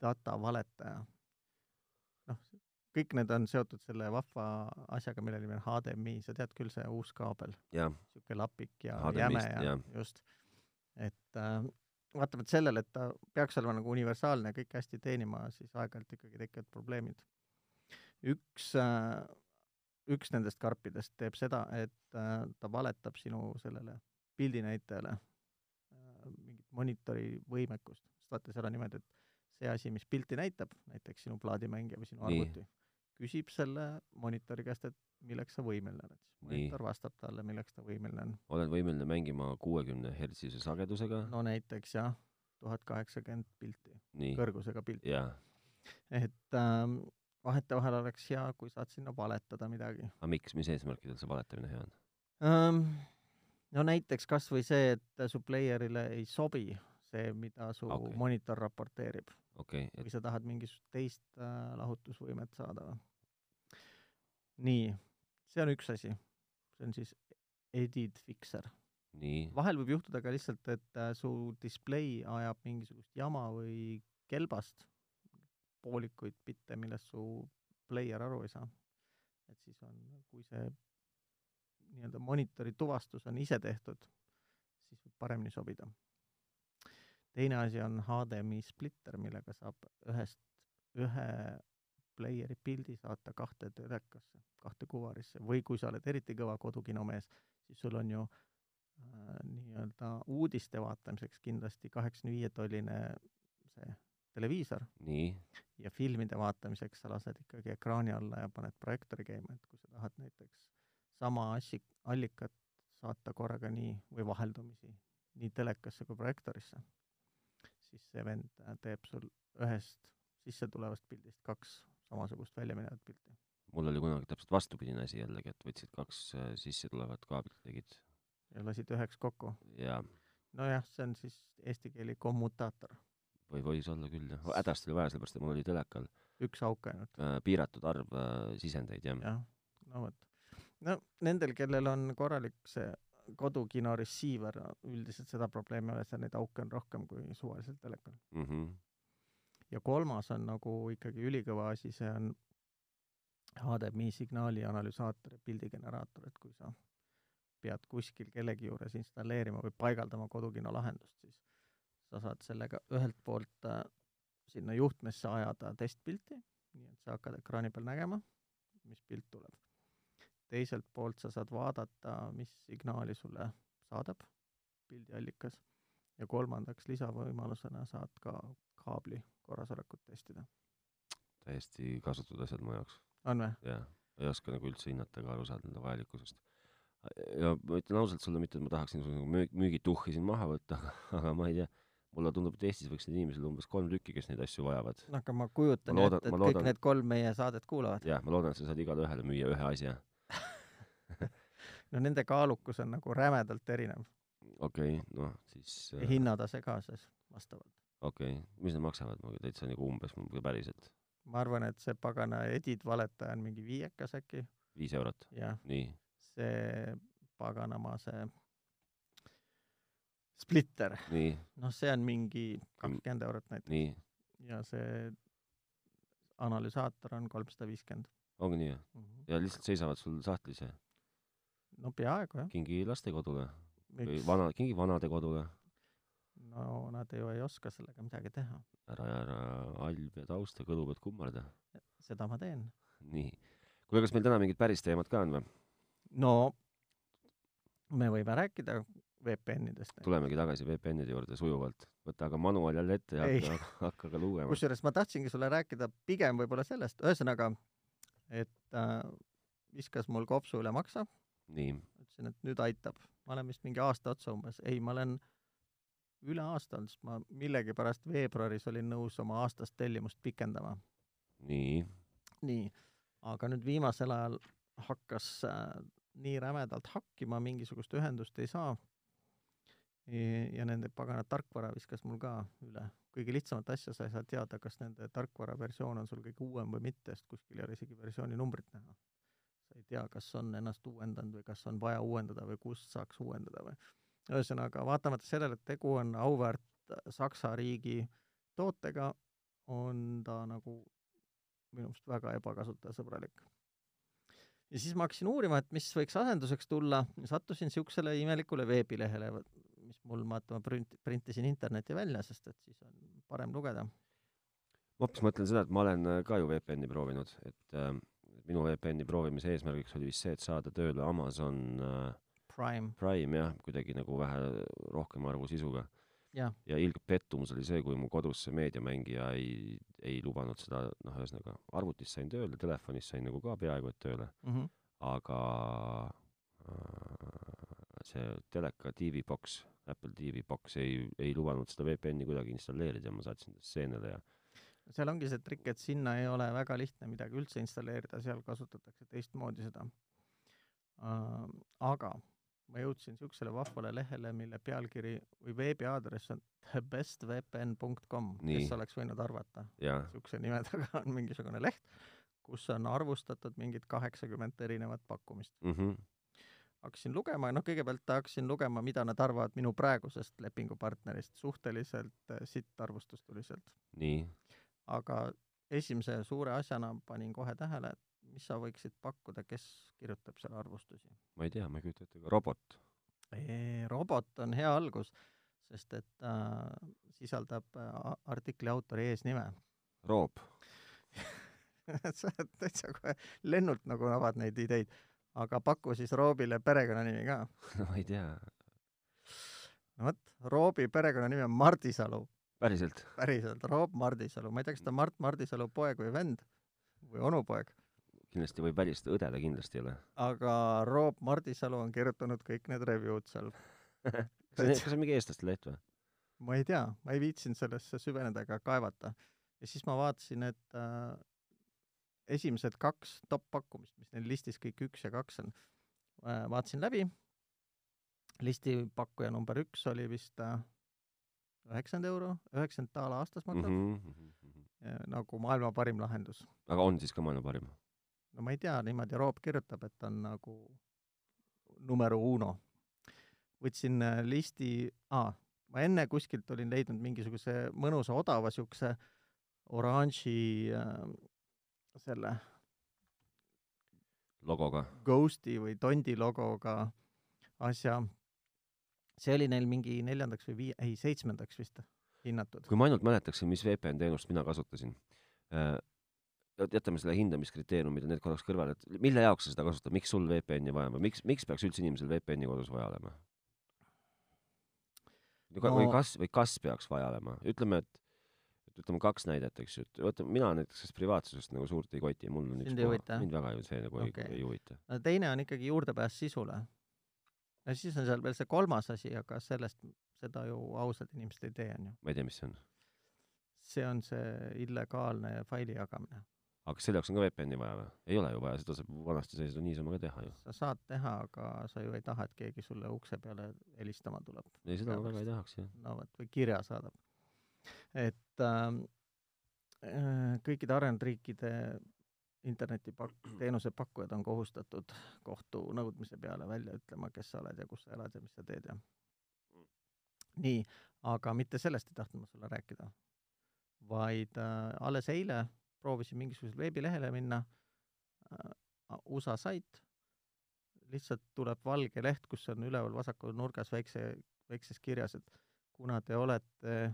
Speaker 2: data valetaja . noh , kõik need on seotud selle vahva asjaga , mille nimi on HDMI , sa tead küll , see uus kaabel ,
Speaker 1: jah ,
Speaker 2: niisugune lapik ja
Speaker 1: HDMI-st,
Speaker 2: jäme ja
Speaker 1: jah.
Speaker 2: just , et äh, vaatamata sellele , et ta peaks olema nagu universaalne ja kõike hästi teenima , siis aeg-ajalt ikkagi tekivad probleemid . üks äh, , üks nendest karpidest teeb seda , et äh, ta valetab sinu sellele pildinäitajale äh, mingit monitori võimekust , sest vaata , seal on niimoodi , et see asi , mis pilti näitab , näiteks sinu plaadimängija või sinu
Speaker 1: Nii.
Speaker 2: arvuti , küsib selle monitori käest , et milleks sa võimeline oled .
Speaker 1: Nii.
Speaker 2: monitor vastab talle , milleks ta võimeline on .
Speaker 1: olen võimeline mängima kuuekümne hertsise sagedusega ,
Speaker 2: no näiteks jah , tuhat kaheksakümmend pilti ,
Speaker 1: nii ,
Speaker 2: kõrgusega pilt .
Speaker 1: jaa .
Speaker 2: et ähm, vahetevahel oleks hea , kui saad sinna valetada midagi
Speaker 1: aga miks , mis eesmärkidel see valetamine hea on ?
Speaker 2: ähm, . no näiteks kas või see , et su player'ile ei sobi see , mida su
Speaker 1: Okei.
Speaker 2: okay. monitor raporteerib
Speaker 1: okei okay, ,
Speaker 2: või sa tahad mingisugust teist äh, lahutusvõimet saada või ? nii , see on üks asi , see on siis edit fixer .
Speaker 1: et nii ,
Speaker 2: vahel võib juhtuda ka lihtsalt , et äh, su display ajab mingisugust jama või kelbast , poolikuid bitte , millest su player aru ei saa . et siis on , kui see nii-öelda monitori tuvastus on ise tehtud , siis võib paremini sobida . teine asi on HDMI splitter , millega saab ühest , ühe player'i pildi saata kahte telekasse , kahte kuvarisse või kui sa oled eriti kõva kodukinomees , siis sul on ju äh, nii-öelda uudiste vaatamiseks kindlasti kaheksakümne viie tolline see televiisor
Speaker 1: nii ,
Speaker 2: ja filmide vaatamiseks sa lased ikkagi ekraani alla ja paned projektoori käima , et kui sa tahad näiteks sama assi , allikat saata korraga nii või vaheldumisi nii telekasse kui projektoorisse , siis see vend äh, teeb sul ühest sissetulevast pildist kaks samasugust väljaminevat pilti .
Speaker 1: mul oli kunagi täpselt vastupidine asi jällegi , et võtsid kaks äh, sissetulevat kaablit , tegid
Speaker 2: ja lasid üheks kokku .
Speaker 1: ja
Speaker 2: nojah , see on siis eesti keeli kommutaator ,
Speaker 1: või võis olla küll jah , hädasti oli vaja , sellepärast et mul oli telekal
Speaker 2: üks auk ainult .
Speaker 1: äh, piiratud arv äh, sisendeid jah .
Speaker 2: jah , no vot . no nendel , kellel on korralik see kodukino receiver , üldiselt seda probleemi ei ole , seal neid auke on rohkem kui suvalisel telekal .
Speaker 1: mm . -hmm.
Speaker 2: ja kolmas on nagu ikkagi ülikõva asi , see on HDMI signaali analüsaator ja pildigeneraator , et kui sa pead kuskil kellegi juures installeerima või paigaldama kodukino lahendust , siis sa saad sellega ühelt poolt äh, sinna juhtmesse ajada testpilti , nii et sa hakkad ekraani peal nägema , mis pilt tuleb . teiselt poolt sa saad vaadata , mis signaali sulle saadab pildiallikas. ja kolmandaks lisavõimalusena saad ka kaabli korrasolekut testida.
Speaker 1: täiesti kasutud asjad mu jaoks.
Speaker 2: on või?
Speaker 1: jah, ei oska nagu üldse hinnata ega aru saada nende vajalikkusest. ja ma ütlen ausalt sulle, mitte et ma tahaks niisuguse nagu müük, müügituhhi siin maha võtta aga ma ei tea, mulle tundub, et Eestis võiks neid inimesi olla umbes kolm tükki, kes neid asju vajavad.
Speaker 2: no aga ma kujutan
Speaker 1: Ma
Speaker 2: ju
Speaker 1: loodan-
Speaker 2: ette, et
Speaker 1: ma
Speaker 2: kõik
Speaker 1: loodan-
Speaker 2: need kolm meie saadet kuulavad.
Speaker 1: jah, ma loodan , et sa saad igale ühele müüa ühe asja.
Speaker 2: no nende kaalukus on nagu rämedalt erinev
Speaker 1: okei okay, , noh siis
Speaker 2: ja
Speaker 1: äh,
Speaker 2: hinnatase ka siis vastavalt .
Speaker 1: okei okay. , mis need maksavad , ma täitsa nagu umbes , ma päriselt ,
Speaker 2: ma arvan , et see pagana Edith valetaja on mingi viiekas äkki
Speaker 1: viis eurot ,
Speaker 2: ja
Speaker 1: nii ,
Speaker 2: see paganama see splitter ,
Speaker 1: nii ,
Speaker 2: noh , see on mingi kakskümmend eurot näiteks
Speaker 1: nii ,
Speaker 2: ja see analüsaator on kolmsada viiskümmend .
Speaker 1: ongi nii , ja lihtsalt seisavad sul sahtlis ja
Speaker 2: no peaaegu jah .
Speaker 1: kingi lastekodule või
Speaker 2: miks ?
Speaker 1: vana , kingi vanadekodule ,
Speaker 2: no nad ju ei oska sellega midagi teha .
Speaker 1: ära , ära halb ja tausta , kõluvad kummarda ,
Speaker 2: seda ma teen .
Speaker 1: nii . kuule , kas meil täna mingid päris teemad ka on või ?
Speaker 2: no me võime rääkida VPN-idest .
Speaker 1: tulemegi tagasi VPN-ide juurde sujuvalt , võta aga manual jälle ette ja
Speaker 2: Ei.
Speaker 1: hakka , hakka ka lugema .
Speaker 2: kusjuures ma tahtsingi sulle rääkida pigem võib-olla sellest , ühesõnaga , et äh, viskas mul kopsu üle maksa ,
Speaker 1: nii ,
Speaker 2: ütlesin , et nüüd aitab . ma olen vist mingi aasta otsa umbes , ei , ma olen üle aasta olnud , sest ma millegipärast veebruaris olin nõus oma aastast tellimust pikendama .
Speaker 1: nii ,
Speaker 2: nii , aga nüüd viimasel ajal hakkas äh, nii rämedalt hakkima , mingisugust ühendust ei saa . ja nende pagana tarkvara viskas mul ka üle . kõige lihtsamat asja sa ei saa teada , kas nende tarkvara versioon on sul kõige uuem või mitte , sest kuskil ei ole isegi versiooni numbrit näha . sa ei tea , kas on ennast uuendanud või kas on vaja uuendada või kust saaks uuendada või . ühesõnaga , vaatamata sellele , et tegu on auväärt Saksa riigi tootega , on ta nagu minu meelest väga ebakasutajasõbralik . ja siis ma hakkasin uurima , et mis võiks asenduseks tulla , sattusin niisugusele imelikule veebilehele , mis mul , vaata , ma print- , printisin interneti välja , sest et siis on parem lugeda .
Speaker 1: ma hoopis mõtlen seda , et ma olen äh, ka ju VPN-i proovinud , et äh, minu VPN-i proovimise eesmärgiks oli vist see , et saada tööle Amazon äh,
Speaker 2: Prime ,
Speaker 1: Prime jah , kuidagi nagu vähe rohkem arvu sisuga .
Speaker 2: Jah.
Speaker 1: ja ilge pettumus oli see , kui mu kodus see meediamängija ei , ei lubanud seda , noh , ühesõnaga arvutis sain tööle , telefonis sain nagu ka peaaegu et tööle ,
Speaker 2: mm -hmm.
Speaker 1: aga äh, see teleka TV Box , Apple TV Box ei , ei lubanud seda VPN-i kuidagi installeerida ja ma saatsin ta stseenile ja
Speaker 2: seal ongi see trikk , et sinna ei ole väga lihtne midagi üldse installeerida , seal kasutatakse teistmoodi seda . aga ma jõudsin niisugusele vahvale lehele , mille pealkiri või veebiaadress on thebestvpn.com ,
Speaker 1: Nii.
Speaker 2: kes oleks võinud arvata .
Speaker 1: ja
Speaker 2: niisuguse nime taga on mingisugune leht , kus on arvustatud mingid kaheksakümmend erinevat pakkumist .
Speaker 1: mm -hmm,
Speaker 2: hakkasin lugema ja noh , kõigepealt hakkasin lugema , mida nad arvavad minu praegusest lepingupartnerist , suhteliselt eh, sitt arvustus tuli sealt .
Speaker 1: nii ,
Speaker 2: aga esimese suure asjana panin kohe tähele , et mis sa võiksid pakkuda , kes kirjutab seal arvustusi .
Speaker 1: ma ei tea , ma ei kujuta ette , robot ,
Speaker 2: robot on hea algus , sest et ta sisaldab eh, a- artikli autori eesnime
Speaker 1: roob ,
Speaker 2: et sa oled täitsa kohe lennult nagu avad neid ideid , aga paku siis Roobile perekonnanimi ka .
Speaker 1: ma ei tea ,
Speaker 2: no vot , Roobi perekonnanimi on Mardisalu ,
Speaker 1: päriselt ,
Speaker 2: päriselt Roob Mardisalu , ma ei tea , kas ta on Mart Mardisalu poeg või vend või onupoeg ,
Speaker 1: kindlasti võib välistada , õdele kindlasti ei ole .
Speaker 2: aga Roob Mardisalu on kirjutanud kõik need review'd seal .
Speaker 1: kas see , kas see on mingi eestlaste leht või ?
Speaker 2: ma ei tea , ma ei viitsinud sellesse süveneda ega kaevata . ja siis ma vaatasin , et äh, esimesed kaks top pakkumist , mis neil listis kõik üks ja kaks on äh, , vaatasin läbi , listi pakkuja number üks oli vist äh, üheksakümmend äh, euro , üheksakümmend daala aastas maksab mm
Speaker 1: -hmm.
Speaker 2: -hmm. nagu maailma parim lahendus .
Speaker 1: aga on siis ka maailma parim ?
Speaker 2: no ma ei tea , niimoodi Roop kirjutab , et on nagu numero uno . võtsin äh, listi ah, , ma enne kuskilt olin leidnud mingisuguse mõnusa odava siukse oranži äh, selle
Speaker 1: logoga ?
Speaker 2: Ghosti või Tondi logoga asja . see oli neil mingi neljandaks või vii- , ei seitsmendaks vist hinnatud .
Speaker 1: kui ma ainult mäletaksin , mis VPN teenust mina kasutasin äh, , jätame selle hindamiskriteeriumid ja need korraks kõrvale , et mille jaoks sa seda kasutad , miks sul VPN-i vaja on või miks , miks peaks üldse inimesel VPN-i kodus vaja olema ? no. või
Speaker 2: No-
Speaker 1: kas või kas peaks vaja olema ütleme et et ütleme kaks näidet eksu et vaata mina näiteks sellest privaatsusest nagu suurt ei koti mul on
Speaker 2: Sind
Speaker 1: ükspuha
Speaker 2: ei huvita?
Speaker 1: mind väga ju see nagu
Speaker 2: Okei.
Speaker 1: ei ei huvita
Speaker 2: aga teine on ikkagi juurdepääs sisule ja siis on seal veel see kolmas asi aga sellest seda ju ausad inimesed ei tee onju
Speaker 1: ma ei tea mis see on
Speaker 2: see on see illegaalne faili jagamine
Speaker 1: aga kas selle jaoks on ka VPN-i vaja või ei ole ju vaja seda saab vanasti sai seda niisama ka teha ju
Speaker 2: sa saad teha aga sa ju ei taha et keegi sulle ukse peale helistama tuleb
Speaker 1: ei seda ma väga ei tahaks jah
Speaker 2: no vot või kirja saadab et ähm, äh, kõikide arenenud riikide internetipakk- teenusepakkujad on kohustatud kohtu nõudmise peale välja ütlema kes sa oled ja kus sa elad ja mis sa teed ja nii aga mitte sellest ei tahtnud ma sulle rääkida vaid äh, alles eile proovisin mingisugusele veebilehele minna äh, USA sait lihtsalt tuleb valge leht kus on üleval vasakul nurgas väikse väikses kirjas, et kuna te olete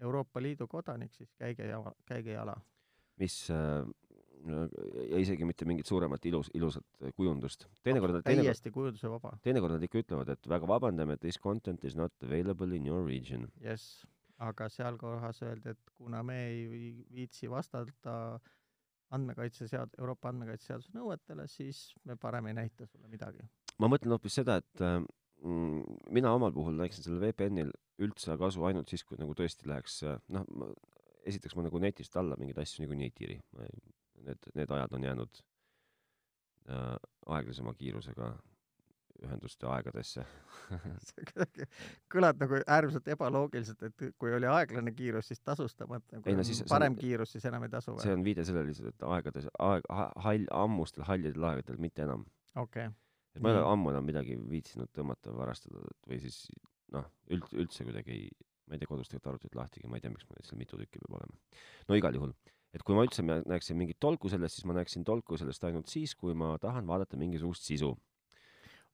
Speaker 2: Euroopa Liidu kodanik, siis käige jala, käige jala.
Speaker 1: mis äh, no ja isegi mitte mingit suuremat ilus ilusat äh, kujundust teinekord nad teinekord
Speaker 2: täiesti kujundusevaba,
Speaker 1: teinekord nad ikka ütlevad et väga vabandame this content is not available in your region
Speaker 2: jess. aga seal kohas öeldi, et kuna me ei vi- viitsi vastata andmekaitsesead- , Euroopa andmekaitseseaduse nõuetele, siis me parem ei näita sulle midagi.
Speaker 1: ma mõtlen hoopis seda, et äh, mm, mina omal puhul näeksin sellel VPN-il üldse kasu ainult siis, kui nagu tõesti läheks äh, noh , esiteks ma nagu netist alla mingeid asju niikuinii ei tiri , ma ei , need , need ajad on jäänud äh, aeglasema kiirusega ühenduste aegadesse .
Speaker 2: sa kuidagi kõlad nagu äärmiselt ebaloogiliselt , et kui oli aeglane kiirus , siis tasus ta mõte , kui
Speaker 1: Ei no
Speaker 2: on
Speaker 1: siis see on-
Speaker 2: parem kiirus , siis enam ei tasu
Speaker 1: see
Speaker 2: või ?
Speaker 1: on viide sellele lihtsalt , et aegades , aeg , hall , ammustel hallidel aegadel , mitte enam .
Speaker 2: okei okay. ,
Speaker 1: et ma ei ole
Speaker 2: Nii.
Speaker 1: ammu enam midagi viitsinud tõmmata , varastada et või siis noh , üld- , üldse kuidagi ei , ma ei tea , kodus tegelikult arvutit lahtigi , ma ei tea , miks mul neid seal mitu tükki peab olema . no igal juhul , et kui ma üldse mä- näeksin mingit tolku sellest , siis ma näeksin tolku sellest ainult siis , kui ma tahan vaadata mingisugust sisu .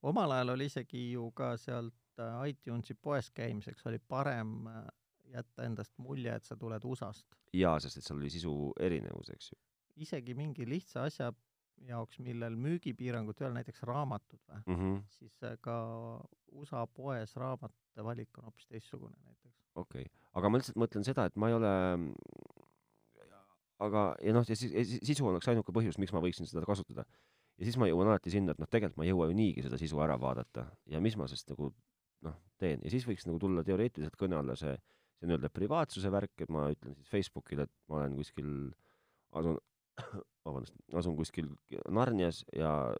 Speaker 2: omal ajal oli isegi ju ka sealt äh, iTunesi poes käimiseks oli parem äh, jätta endast mulje , et sa tuled USA-st .
Speaker 1: jaa , sest et seal oli sisu erinevus , eks ju
Speaker 2: isegi mingi lihtsa asja jaoks , millel müügipiirangut ei ole , näiteks raamatud või ,
Speaker 1: mm -hmm. .
Speaker 2: siis äh, ka USA poes raamatute valik on hoopis teistsugune näiteks .
Speaker 1: okei okay. , aga ma lihtsalt mõtlen seda , et ma ei ole aga , ja noh , ja siis ja si- sisu oleks ainuke põhjus , miks ma võiksin seda kasutada . ja siis ma jõuan alati sinna , et noh , tegelikult ma ei jõua ju niigi seda sisu ära vaadata ja mis ma sest nagu noh , teen ja siis võiks nagu tulla teoreetiliselt kõne alla see , see nii-öelda privaatsuse värk , et ma ütlen siis Facebookile , et ma olen kuskil , asun , vabandust , asun kuskil Narnias ja ,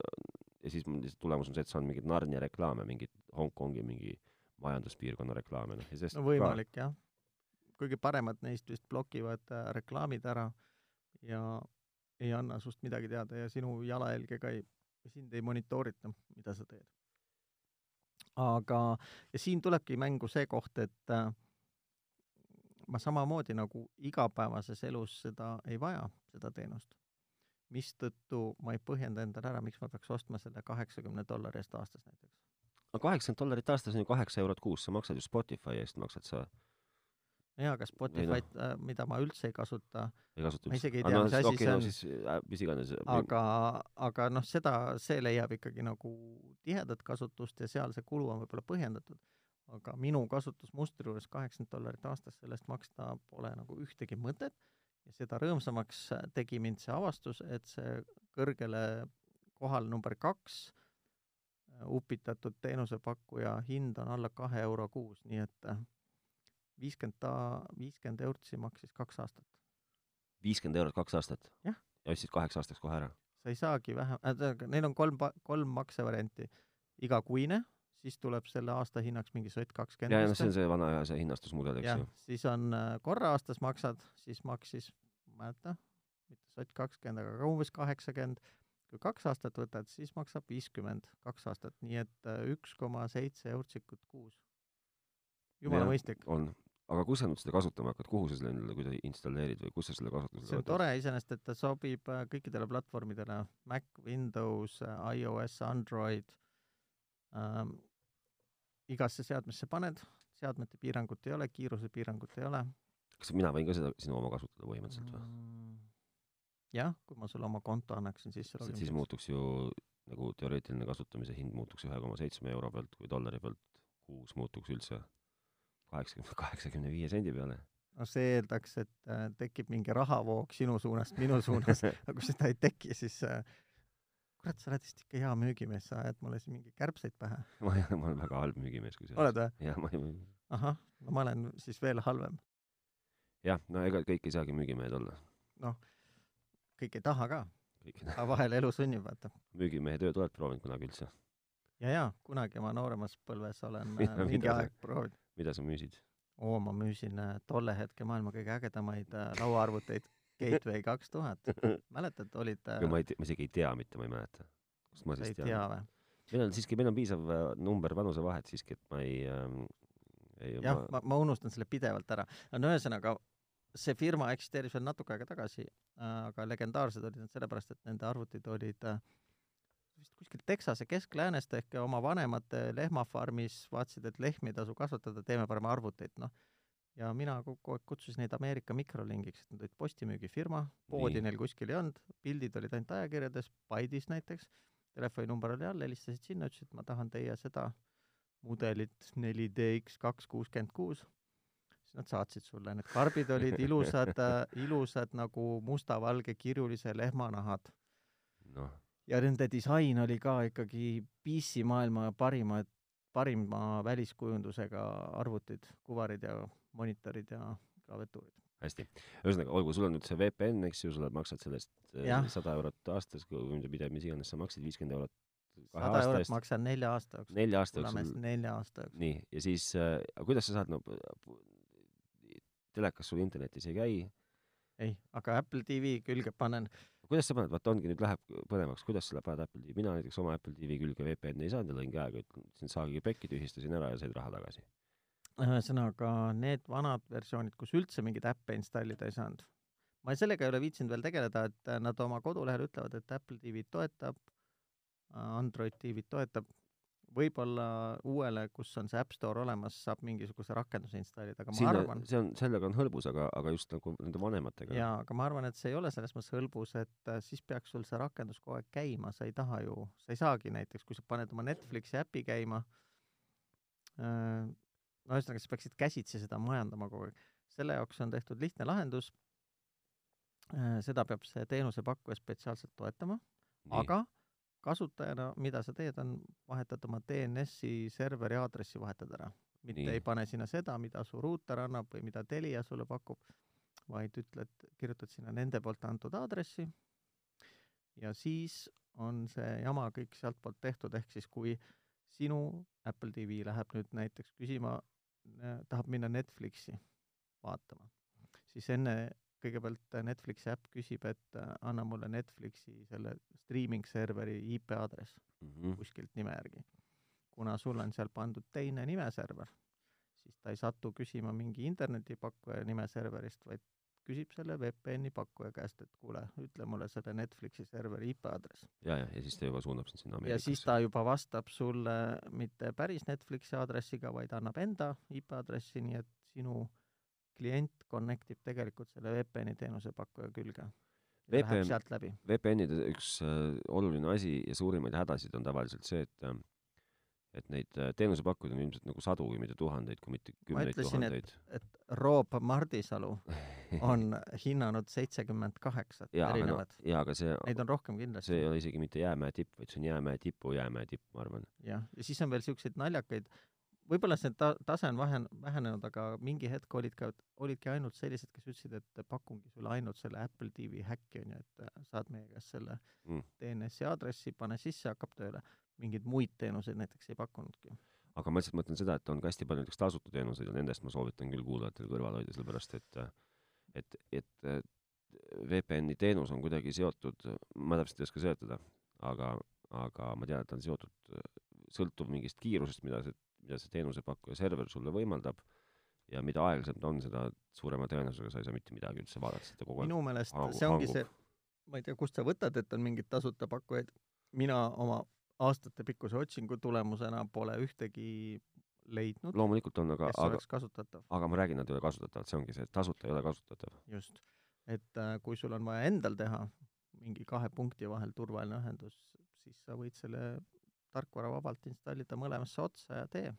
Speaker 1: ja siis mul lihtsalt tulemus on see , et saan mingeid Narnia reklaame , mingeid Hongkongi mingi majanduspiirkonna reklaame , noh ja sellest
Speaker 2: no võimalik jah . kuigi paremad neist vist blokivad äh, reklaamid ära ja ei anna sust midagi teada ja sinu jalajälge ka ei , sind ei monitoorita , mida sa teed . aga , ja siin tulebki mängu see koht , et äh, ma samamoodi nagu igapäevases elus seda ei vaja , seda teenust . mistõttu ma ei põhjenda endale ära , miks ma peaks ostma selle kaheksakümne dollari eest aastas näiteks .
Speaker 1: no kaheksakümmend dollarit aastas on ju kaheksa eurot kuus , sa maksad ju Spotify eest maksad sa ,
Speaker 2: jaa , aga Spotify'd , mida ma üldse ei kasuta ,
Speaker 1: ei kasuta
Speaker 2: Ma isegi ei
Speaker 1: Ah,
Speaker 2: tea,
Speaker 1: no,
Speaker 2: mis asi
Speaker 1: okei,
Speaker 2: see
Speaker 1: no
Speaker 2: on.
Speaker 1: siis äh, mis iganes .
Speaker 2: aga , aga noh , seda , see leiab ikkagi nagu tihedat kasutust ja seal see kulu on võib-olla põhjendatud , aga minu kasutusmustri juures kaheksakümmend dollarit aastas sellest maksta pole nagu ühtegi mõtet ja seda rõõmsamaks äh, tegi mind see avastus , et see kõrgele kohal number kaks äh, upitatud teenusepakkuja hind on alla kahe euro kuus , nii et äh, viiskümmend ta- , viiskümmend eurtsi maksis kaks aastat .
Speaker 1: viiskümmend eurot kaks aastat .
Speaker 2: Jah.
Speaker 1: ja ostsid kaheks aastaks kohe ära .
Speaker 2: sa ei saagi vähem , tähendab , neil on kolm , kolm maksevarianti . igakuine , siis tuleb selle aasta hinnaks mingi sott
Speaker 1: ja , ja
Speaker 2: kakskümmend
Speaker 1: noh , see on see vana hea see hinnastusmudel , eks
Speaker 2: jah
Speaker 1: ju .,
Speaker 2: siis on äh, korra aastas maksad , siis maksis , ma ei mäleta , mitte sott kakskümmend , aga ka umbes kaheksakümmend . kui kaks aastat võtad , siis maksab viiskümmend kaks aastat , nii et äh, üks koma seitse eurtsikut kuus . jumala
Speaker 1: Jah.
Speaker 2: mõistlik .
Speaker 1: on . aga kus sa nüüd seda kasutama hakkad , kuhu sa selle endale kuidagi installeerid või kus sa selle
Speaker 2: see
Speaker 1: kasutusele
Speaker 2: on tore iseenesest , et ta sobib äh, kõikidele platvormidele , Mac , Windows , iOS , Android ähm, , igasse seadmesse paned , seadmete piirangut ei ole , kiiruse piirangut ei ole .
Speaker 1: kas mina võin ka seda sinu oma kasutada põhimõtteliselt
Speaker 2: Mm,
Speaker 1: või ?
Speaker 2: jah , kui ma sulle oma konto annaksin sisse
Speaker 1: sest siis . muutuks ju nagu teoreetiline kasutamise hind muutuks ühe koma seitsme euro pealt või dollari pealt kuus muutuks üldse kaheksakümne , kaheksakümne viie sendi peale .
Speaker 2: no see eeldaks , et äh, tekib mingi rahavoog sinu suunast minu suunas , aga kui seda ei teki , siis äh, kurat , sa oled vist ikka hea müügimees , sa ajad mulle siin mingi kärbseid pähe .
Speaker 1: ma ei ole , ma olen väga halb müügimees , kui see
Speaker 2: oled või ?
Speaker 1: jah , ma ei ,
Speaker 2: ahah , no ma olen siis veel halvem .
Speaker 1: jah , no ega kõik ei saagi müügimehed olla .
Speaker 2: kõik ei taha ka ,
Speaker 1: kõik ,
Speaker 2: aga vahel elu sunnib , vaata .
Speaker 1: müügimehe tööd oled proovinud kunagi üldse ?
Speaker 2: ja , ja kunagi oma nooremas põlves olen
Speaker 1: Mida-
Speaker 2: äh, mingi
Speaker 1: mida sa-
Speaker 2: aeg proovinud .
Speaker 1: mida sa müüsid ?
Speaker 2: oo , ma müüsin äh, tolle hetke maailma kõige ägedamaid äh, lauaarvuteid Gateway kaks tuhat . mäletad , olid
Speaker 1: ega
Speaker 2: äh,
Speaker 1: ma ei tea , ma isegi ei tea mitte , ma ei mäleta . kust ma
Speaker 2: sa ei
Speaker 1: siis
Speaker 2: tea
Speaker 1: tean ?
Speaker 2: või ?
Speaker 1: meil on siiski , meil on piisav äh, number vanusevahet siiski , et ma ei ähm, , ei ,
Speaker 2: jah , ma , ma unustan selle pidevalt ära . no ühesõnaga , see firma eksisteeris veel natuke aega tagasi , aga legendaarsed olid nad sellepärast , et nende arvutid olid äh, vist kuskil Texase keskläänest ehk oma vanemate lehmafarmis vaatasid , et lehmi ei tasu kasvatada , teeme parem arvuteid , noh . ja mina kogu aeg kutsusin neid Ameerika mikrolingiks , et nad olid postimüügifirma , poodi
Speaker 1: Nii.
Speaker 2: neil kuskil ei olnud , pildid olid ainult ajakirjades , Paides näiteks , telefoninumber oli all , helistasid sinna , ütlesid , ma tahan teie seda mudelit 4DX kaks kuuskümmend kuus , siis nad saatsid sulle , need karbid olid ilusad , ilusad nagu mustavalge kirjulise lehmanahad
Speaker 1: noh ,
Speaker 2: ja nende disain oli ka ikkagi PC maailma parima , parima väliskujundusega arvutid , kuvarid ja monitorid ja klaviatuurid .
Speaker 1: hästi . ühesõnaga , olgu , sul on nüüd see VPN , eks ju , sa maksad sellest äh,
Speaker 2: Jah.
Speaker 1: sada eurot aastas , või mida , mis iganes sa maksid , viiskümmend eurot kahe
Speaker 2: sada
Speaker 1: aasta
Speaker 2: eurot
Speaker 1: eest ,
Speaker 2: maksan nelja aasta jooksul ,
Speaker 1: nelja aasta
Speaker 2: tuleme
Speaker 1: jooksul
Speaker 2: siis nelja aasta jooksul .
Speaker 1: nii , ja siis äh, , kuidas sa saad , no p- telekas sul internetis ei käi ,
Speaker 2: ei , aga Apple TV külge panen ,
Speaker 1: kuidas sa paned , vaata ongi , nüüd läheb põnevaks , kuidas sa paned Apple TV , mina näiteks oma Apple TV külge VPN-i ei saanud ja lõin käega , ütlesin saagi pekki , tühistasin ära ja said raha tagasi .
Speaker 2: ühesõnaga need vanad versioonid , kus üldse mingeid äppe installida ei saanud . ma sellega ei ole viitsinud veel tegeleda , et äh, nad oma kodulehel ütlevad , et Apple TV-d toetab , Android TV-d toetab , võib-olla uuele , kus on see App Store olemas , saab mingisuguse rakenduse installida , aga ma Sinna...
Speaker 1: sinna
Speaker 2: arvan ,,
Speaker 1: see on , sellega on hõlbus , aga , aga just nagu nende vanematega .
Speaker 2: jaa , aga ma arvan , et see ei ole selles mõttes hõlbus , et äh, siis peaks sul see rakendus kogu aeg käima , sa ei taha ju , sa ei saagi näiteks , kui sa paned oma Netflixi äpi käima , no ühesõnaga , sa peaksid käsitsi seda majandama kogu aeg . selle jaoks on tehtud lihtne lahendus , seda peab see teenusepakkuja spetsiaalselt toetama , aga kasutajana , mida sa teed , on vahetad oma DNS-i serveri aadressi vahetad ära . mitte
Speaker 1: Nii.
Speaker 2: nii. ei pane sinna seda , mida su ruuter annab või mida Telia sulle pakub , vaid ütled , kirjutad sinna nende poolt antud aadressi ja siis on see jama kõik sealtpoolt tehtud , ehk siis kui sinu Apple TV läheb nüüd näiteks küsima , tahab minna Netflixi vaatama , siis enne kõigepealt Netflixi äpp küsib , et äh, anna mulle Netflixi selle streaming serveri IP aadress
Speaker 1: Mhm.
Speaker 2: kuskilt nime järgi . kuna sul on seal pandud teine nimeserver , siis ta ei satu küsima mingi internetipakkuja nimeserverist , vaid küsib selle VPN-i pakkuja käest , et kuule , ütle mulle selle Netflixi serveri IP aadress .
Speaker 1: ja , ja , ja siis ta juba suunab sind sinna
Speaker 2: ja siis
Speaker 1: Ameerikasse .
Speaker 2: ta juba vastab sulle mitte päris Netflixi aadressiga , vaid annab enda IP aadressi , nii et sinu klient connect ib tegelikult selle VPN-i teenusepakkuja külge . Läheb
Speaker 1: VPN
Speaker 2: sealt läbi .
Speaker 1: VPN-ide üks äh, oluline asi ja suurimaid hädasid on tavaliselt see , et ähm, et neid äh, teenusepakkujaid on ilmselt nagu sadu , kui mitte tuhandeid , kui mitte
Speaker 2: Ma
Speaker 1: kümneid
Speaker 2: ütlesin, et-
Speaker 1: tuhandeid .
Speaker 2: et Roop Mardisalu on hinnanud seitsekümmend kaheksat
Speaker 1: jaa , aga noh
Speaker 2: erinevat ,.
Speaker 1: jaa , aga see ,
Speaker 2: Neid on rohkem
Speaker 1: see
Speaker 2: kindlasti
Speaker 1: ei . ole isegi mitte jäämäe tipp , vaid see on jäämäe tipu jäämäe tipp , ma arvan .
Speaker 2: jah , ja siis on veel siukseid naljakaid , võib-olla see ta- , tase on vahen- , vähenenud , aga mingi hetk olid ka , olidki ainult sellised , kes ütlesid , et pakungi sulle ainult selle Apple TV häkki onju , et äh, saad meie käest selle
Speaker 1: Mm.
Speaker 2: mm. DNS-i aadressi , pane sisse , hakkab tööle . mingeid muid teenuseid näiteks ei pakkunudki .
Speaker 1: aga ma lihtsalt mõtlen seda , et on ka hästi palju näiteks tasuta teenuseid ja nendest ma soovitan küll kuulajatel kõrvale hoida , sellepärast et äh, et , et äh, VPN-i teenus on kuidagi seotud , ma täpselt ei oska seletada , aga , aga ma tean , et ta on seotud , sõltub mingist kiirusest , mida see , mida see teenusepakkuja server sulle võimaldab ja mida aeglasem ta on , seda suurema tõenäosusega sa ei saa mitte midagi üldse vaadata , seda kogu aeg
Speaker 2: minu meelest
Speaker 1: hangu-
Speaker 2: see ongi
Speaker 1: hangub.
Speaker 2: see , ma ei tea , kust sa võtad , et on mingeid tasuta pakkujaid , mina oma aastatepikkuse otsingu tulemusena pole ühtegi leidnud ,
Speaker 1: loomulikult on , aga
Speaker 2: kes ,
Speaker 1: aga ,
Speaker 2: oleks kasutatav .
Speaker 1: aga ma räägin , nad ei ole kasutatavad , see ongi see , et tasuta ei ole kasutatav .
Speaker 2: just , et äh, kui sul on vaja endal teha mingi kahe punkti vahel turvaline ühendus , siis sa võid selle tarkvara vabalt installida mõlemasse otsa ja tee .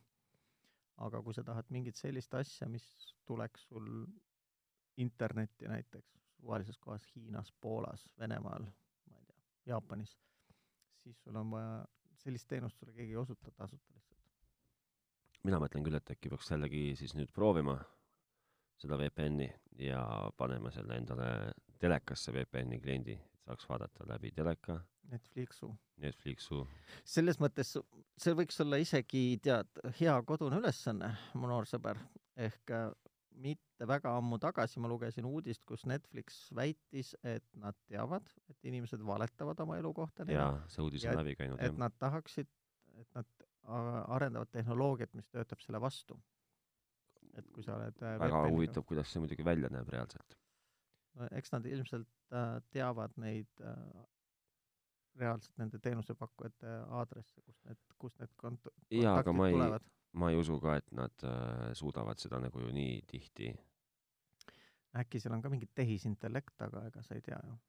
Speaker 2: aga kui sa tahad mingit sellist asja, mis tuleks sul internetti näiteks suvalises kohas Hiinas, Poolas, Venemaal, ma ei tea, Jaapanis, siis sul on vaja, sellist teenust sulle keegi ei osuta tasuta lihtsalt.
Speaker 1: mina mõtlen küll, et äkki peaks jällegi siis nüüd proovima seda VPN-i ja panema selle endale telekasse VPN-i kliendi, et saaks vaadata läbi teleka,
Speaker 2: Netflixu.
Speaker 1: Netflixu.
Speaker 2: selles mõttes see võiks olla isegi, tead, hea kodune ülesanne, mu noor sõber, ehk äh, mitte väga ammu tagasi ma lugesin uudist, kus Netflix väitis, et nad teavad, et inimesed valetavad oma elukohta neile,
Speaker 1: jaa , see uudis
Speaker 2: Ja
Speaker 1: on
Speaker 2: et-
Speaker 1: läbi käinud
Speaker 2: et
Speaker 1: jah .
Speaker 2: nad tahaksid , et nad a- arendavad tehnoloogiat , mis töötab selle vastu . et kui sa oled
Speaker 1: väga
Speaker 2: äh, VPN-iga
Speaker 1: huvitav , kuidas see muidugi välja näeb reaalselt .
Speaker 2: no eks nad ilmselt äh, teavad neid äh, reaalselt nende teenusepakkujate aadresse , kus need , kust need kont- ,
Speaker 1: jaa , aga
Speaker 2: kontaktid
Speaker 1: ma ei ,
Speaker 2: tulevad .
Speaker 1: ma ei usu ka , et nad äh, suudavad seda nagu ju nii tihti
Speaker 2: äkki seal on ka mingi tehisintellekt , aga ega sa ei tea ju .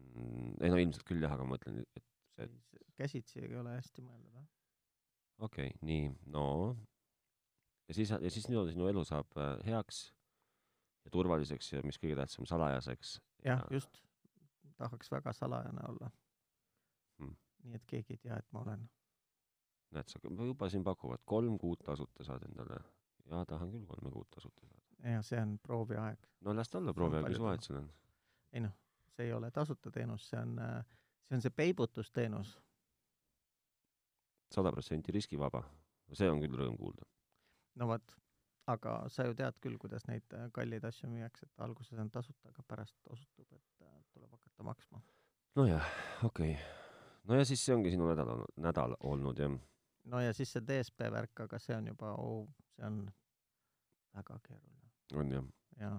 Speaker 1: mm, , ei no ilmselt küll jah , aga ma mõtlen , et Et-
Speaker 2: käsitsi ei ole hästi mõeldav , jah ?
Speaker 1: okei okay, , nii , no ja siis , ja siis niimoodi sinu elu saab äh, heaks ja turvaliseks ja mis kõige tähtsam , salajaseks .
Speaker 2: jah , just . tahaks väga salajane olla
Speaker 1: Mm.
Speaker 2: hmm. . nii et keegi ei tea , et ma olen .
Speaker 1: näed sa , juba siin pakuvad , kolm kuud tasuta saad endale . jaa , tahan küll kolme kuud tasuta saada .
Speaker 2: ja see on prooviaeg .
Speaker 1: no las ta olla ,
Speaker 2: See on
Speaker 1: proovi , mis
Speaker 2: palju
Speaker 1: vahet seal on .
Speaker 2: ei noh , see ei ole tasuta teenus , see on , see on see peibutusteenus .
Speaker 1: sada protsenti riskivaba . see on küll rõõm kuulda .
Speaker 2: no vot , aga sa ju tead küll , kuidas neid äh, kalleid asju müüakse , et alguses on tasuta , aga pärast osutub , et äh, tuleb hakata maksma .
Speaker 1: nojah , okei okay. . no ja siis see ongi sinu nädal olnud , nädal olnud jah .
Speaker 2: no ja siis see DSP värk , aga see on juba oh, , see on väga keeruline
Speaker 1: on jah .
Speaker 2: ja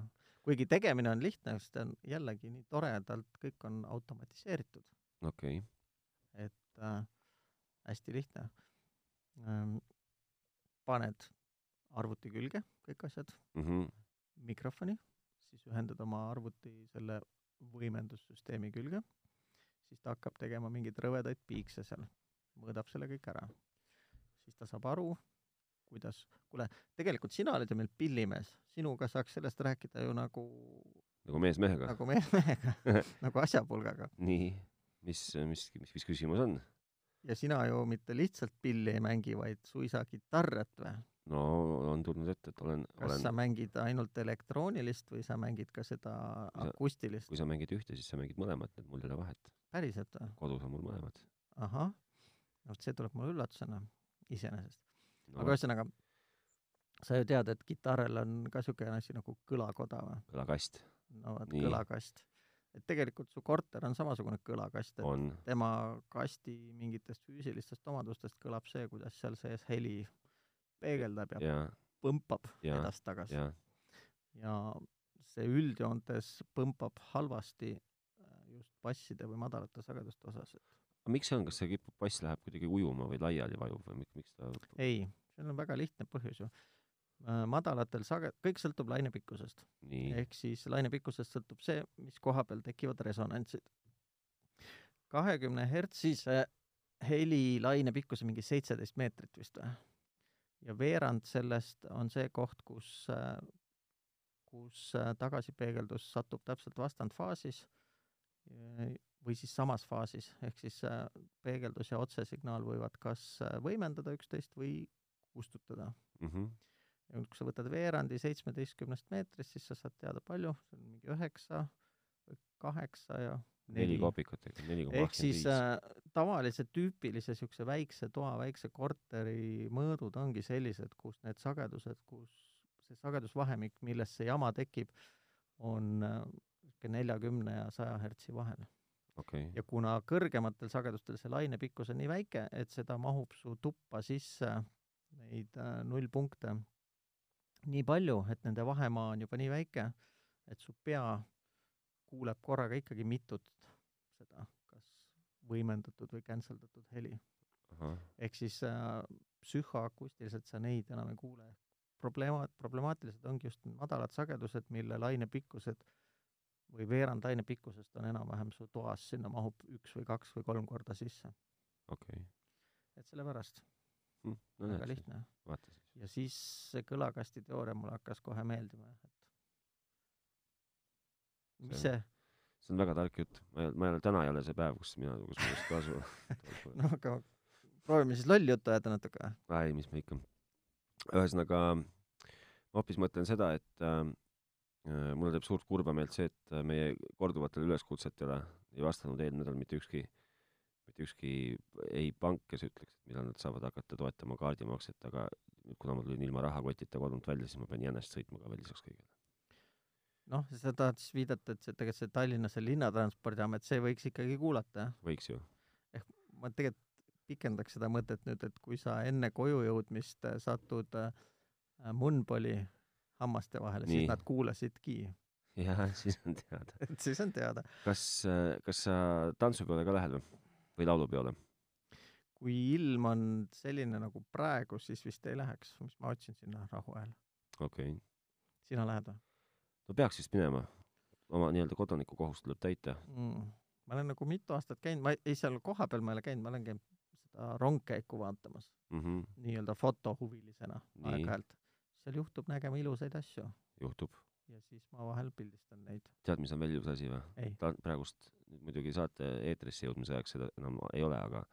Speaker 2: kuigi tegemine on lihtne , sest ta on jällegi nii toredalt , kõik on automatiseeritud ,
Speaker 1: okei okay. .
Speaker 2: et äh, hästi lihtne ähm, . paned arvuti külge kõik asjad ,
Speaker 1: Mm -hmm.
Speaker 2: mikrofoni , siis ühendad oma arvuti selle võimendussüsteemi külge , siis ta hakkab tegema mingeid rõvedaid piikse seal , mõõdab selle kõik ära . siis ta saab aru , kuidas , kuule , tegelikult sina olid ju meil pillimees , sinuga saaks sellest rääkida ju nagu ,
Speaker 1: nagu mees mehega .
Speaker 2: nagu mehe mehega , nagu asjapulgaga .
Speaker 1: nii , mis , mis, mis , mis küsimus on ?
Speaker 2: ja sina ju mitte lihtsalt pilli ei mängi , vaid suisa kitarrat või ?
Speaker 1: no on tulnud ette , et olen ,
Speaker 2: kas olen... sa
Speaker 1: olen ,
Speaker 2: mängid ainult elektroonilist või sa mängid ka seda
Speaker 1: sa-
Speaker 2: akustilist
Speaker 1: kui ? sa mängid ühte , siis sa mängid mõlemat , et mul ei ole vahet .
Speaker 2: päriselt või ?
Speaker 1: kodus on mul mõlemad
Speaker 2: ahah , vot see tuleb mulle üllatusena iseenesest .
Speaker 1: no, .
Speaker 2: aga ühesõnaga , sa ju tead , et kitarril on ka niisugune asi nagu kõlakoda või ?
Speaker 1: kõlakast
Speaker 2: no vot ,
Speaker 1: Nii.
Speaker 2: kõlakast . et tegelikult su korter on samasugune kõlakast , et
Speaker 1: on ,
Speaker 2: tema kasti mingitest füüsilistest omadustest kõlab see , kuidas seal sees heli peegeldab ja, ja
Speaker 1: ja ,
Speaker 2: põmpab
Speaker 1: ja ,
Speaker 2: edasi-tagasi .
Speaker 1: ja
Speaker 2: ja see üldjoontes põmpab halvasti äh, just basside või madalate sageduste osas ,
Speaker 1: aga miks see on , kas see kipub , bass läheb kuidagi ujuma või laiali vajub või miks , miks ta
Speaker 2: ei , seal on väga lihtne põhjus ju . madalatel sage- , kõik sõltub lainepikkusest ,
Speaker 1: nii ,
Speaker 2: ehk siis lainepikkusest sõltub see , mis koha peal tekivad resonantsid . kahekümne hertsise helilaine pikkus on mingi seitseteist meetrit vist või ? ja veerand sellest on see koht , kus , kus äh, tagasipeegeldus satub täpselt vastandfaasis eh, või siis samas faasis , ehk siis äh, peegeldus ja otsesignaal võivad kas äh, võimendada üksteist või kustutada .
Speaker 1: mhmh ,
Speaker 2: ja nüüd , kui sa võtad veerandi seitsmeteistkümnest meetrist , siis sa saad teada palju , see on mingi üheksa , kaheksa ja
Speaker 1: neli
Speaker 2: neli .
Speaker 1: kopikatega , neli koma
Speaker 2: ehk siis
Speaker 1: kakskümmend
Speaker 2: äh, tavalise tüüpilise niisuguse väikse toa , väikse korteri mõõdud ongi sellised , kus need sagedused , kus see sagedusvahemik , milles see jama tekib , on niisugune neljakümne ja saja hertsi vahel . äh,
Speaker 1: viis , okei ,
Speaker 2: ja kuna kõrgematel sagedustel see lainepikkus on nii väike , et seda mahub su tuppa sisse neid äh, nullpunkte nii palju , et nende vahemaa on juba nii väike , et su pea kuuleb korraga ikkagi mitut seda kas võimendatud või cancel datud heli .
Speaker 1: ahah ,
Speaker 2: ehk siis äh, psühhoakustiliselt sa neid enam ei kuule . probleema- , problemaatilised ongi just need madalad sagedused , mille lainepikkused või veerand lainepikkusest on enam-vähem su toas , sinna mahub üks või kaks või kolm korda sisse .
Speaker 1: okei .
Speaker 2: et sellepärast
Speaker 1: no
Speaker 2: väga
Speaker 1: näed ,
Speaker 2: lihtne .
Speaker 1: vaata siis .
Speaker 2: ja siis see kõlakasti teooria mulle hakkas kohe meeldima, et mis
Speaker 1: See-
Speaker 2: see,
Speaker 1: see on väga tark jutt ma ei ma ei ole täna ei ole see päev kus mina kus ma just kasu
Speaker 2: no aga proovime siis lolli juttu ajada natuke või?
Speaker 1: ei mis me ikka ühesõnaga ma hoopis mõtlen seda et äh, äh, mulle teeb suurt kurba meelt see et äh, meie korduvatele üleskutsetele ei vastanud eelmine nädal mitte ükski mitte ükski ei pank kes ütleks et millal nad saavad hakata toetama kaardimakset aga nüüd kuna ma tulin ilma rahakotita kodunt välja siis ma pean jänest sõitma ka veel lisaks kõigele
Speaker 2: noh , sa tahad siis viidata , et see tegelikult see Tallinna see linnatranspordiamet , see võiks ikkagi kuulata , jah ?
Speaker 1: võiks ju
Speaker 2: ma tegelikult pikendaks seda mõtet nüüd , et kui sa enne koju jõudmist äh, satud äh, Munboli hammaste vahele , siis
Speaker 1: Nii.
Speaker 2: nad kuulasidki ,
Speaker 1: jah siis on teada
Speaker 2: et siis on teada .
Speaker 1: kas , kas sa tantsupeole ka lähed või ? või laulupeole ?
Speaker 2: kui ilm on selline nagu praegu , siis vist ei läheks , mis ma otsin sinna rahuajal .
Speaker 1: okei okay. .
Speaker 2: sina lähed või
Speaker 1: no peaks vist minema . oma nii-öelda kodanikukohust tuleb täita .
Speaker 2: mm. ? ma olen nagu mitu aastat käinud , ma ei- ei seal kohapeal ma ei ole käinud , ma olen käinud seda rongkäiku vaatamas
Speaker 1: Mm -hmm.
Speaker 2: nii-öelda fotohuvilisena
Speaker 1: Nii.
Speaker 2: aeg-ajalt . seal juhtub nägema ilusaid asju
Speaker 1: juhtub .
Speaker 2: ja siis ma vahel pildistan neid .
Speaker 1: tead , mis on veel ilus asi või ?
Speaker 2: ei ,
Speaker 1: ta on praegust , nüüd muidugi saate eetrisse jõudmise ajaks seda enam ei ole , aga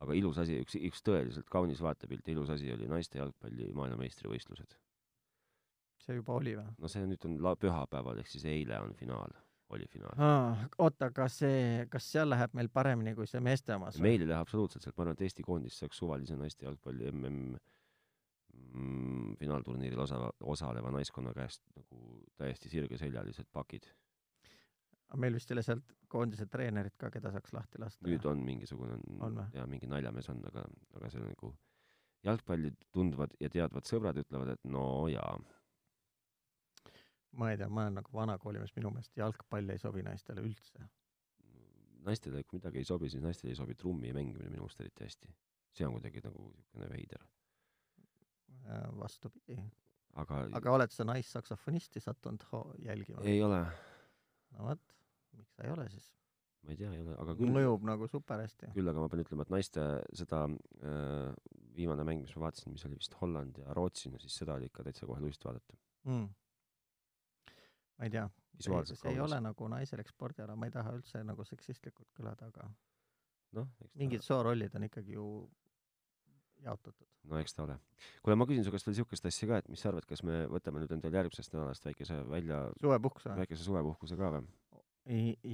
Speaker 1: aga ilus asi , üks , üks tõeliselt kaunis vaatepilt ja ilus asi oli naiste jalgpalli maailmameistrivõistlused .
Speaker 2: see juba oli või ?
Speaker 1: no see nüüd on la- , pühapäeval ehk siis eile on finaal , oli finaal .
Speaker 2: Ah, oota , aga see , kas seal läheb meil paremini kui see meeste omas ?
Speaker 1: meil ei lähe absoluutselt sealt , ma arvan , et Eesti koondis saaks suvalise naiste jalgpalli mm mm, finaalturniiril osa , osaleva naiskonna käest nagu täiesti sirgeseljalised pakid .
Speaker 2: meil vist ei ole sealt koondise treenerit ka , keda saaks lahti lasta .
Speaker 1: nüüd on mingisugune ,
Speaker 2: On vä?
Speaker 1: jaa , mingi naljamees on , aga , aga see on nagu jalgpalli tundvad ja teadvad sõbrad ütlevad , et no jaa ,
Speaker 2: ma ei tea , ma olen nagu vana koolimees , minu meelest jalgpall ei sobi naistele üldse .
Speaker 1: naistele kui nagu midagi ei sobi , siis naistele ei sobi trummi mängimine minu meelest eriti hästi . see on kuidagi nagu niisugune veider .
Speaker 2: Äh, vastupidi .
Speaker 1: aga, aga...
Speaker 2: aga oled sa naissaksofonisti sattunud ho- jälgima ?
Speaker 1: ei ole ,
Speaker 2: no vot , miks sa ei ole siis ?
Speaker 1: ma ei tea , ei ole , aga küll
Speaker 2: mõjub nagu super hästi .
Speaker 1: küll aga ma pean ütlema , et naiste seda äh, viimane mäng , mis ma vaatasin , mis oli vist Holland ja Rootsi , no siis seda oli ikka täitsa kohe lust vaadata .
Speaker 2: Mm. ma ei tea , see
Speaker 1: visuaalselt
Speaker 2: see ei ole . nagu naiselik spordiala , ma ei taha üldse nagu seksistlikult kõlada , aga
Speaker 1: noh , eks
Speaker 2: mingid
Speaker 1: Mingid...
Speaker 2: soorollid on ikkagi ju jaotatud .
Speaker 1: ta , no eks ta ole . kuule , ma küsin su käest veel siukest asja ka , et mis sa arvad , kas me võtame nüüd endale järgmisest nädalast väikese välja ,
Speaker 2: suvepuhkus või ?
Speaker 1: väikese suvepuhkuse ka või ?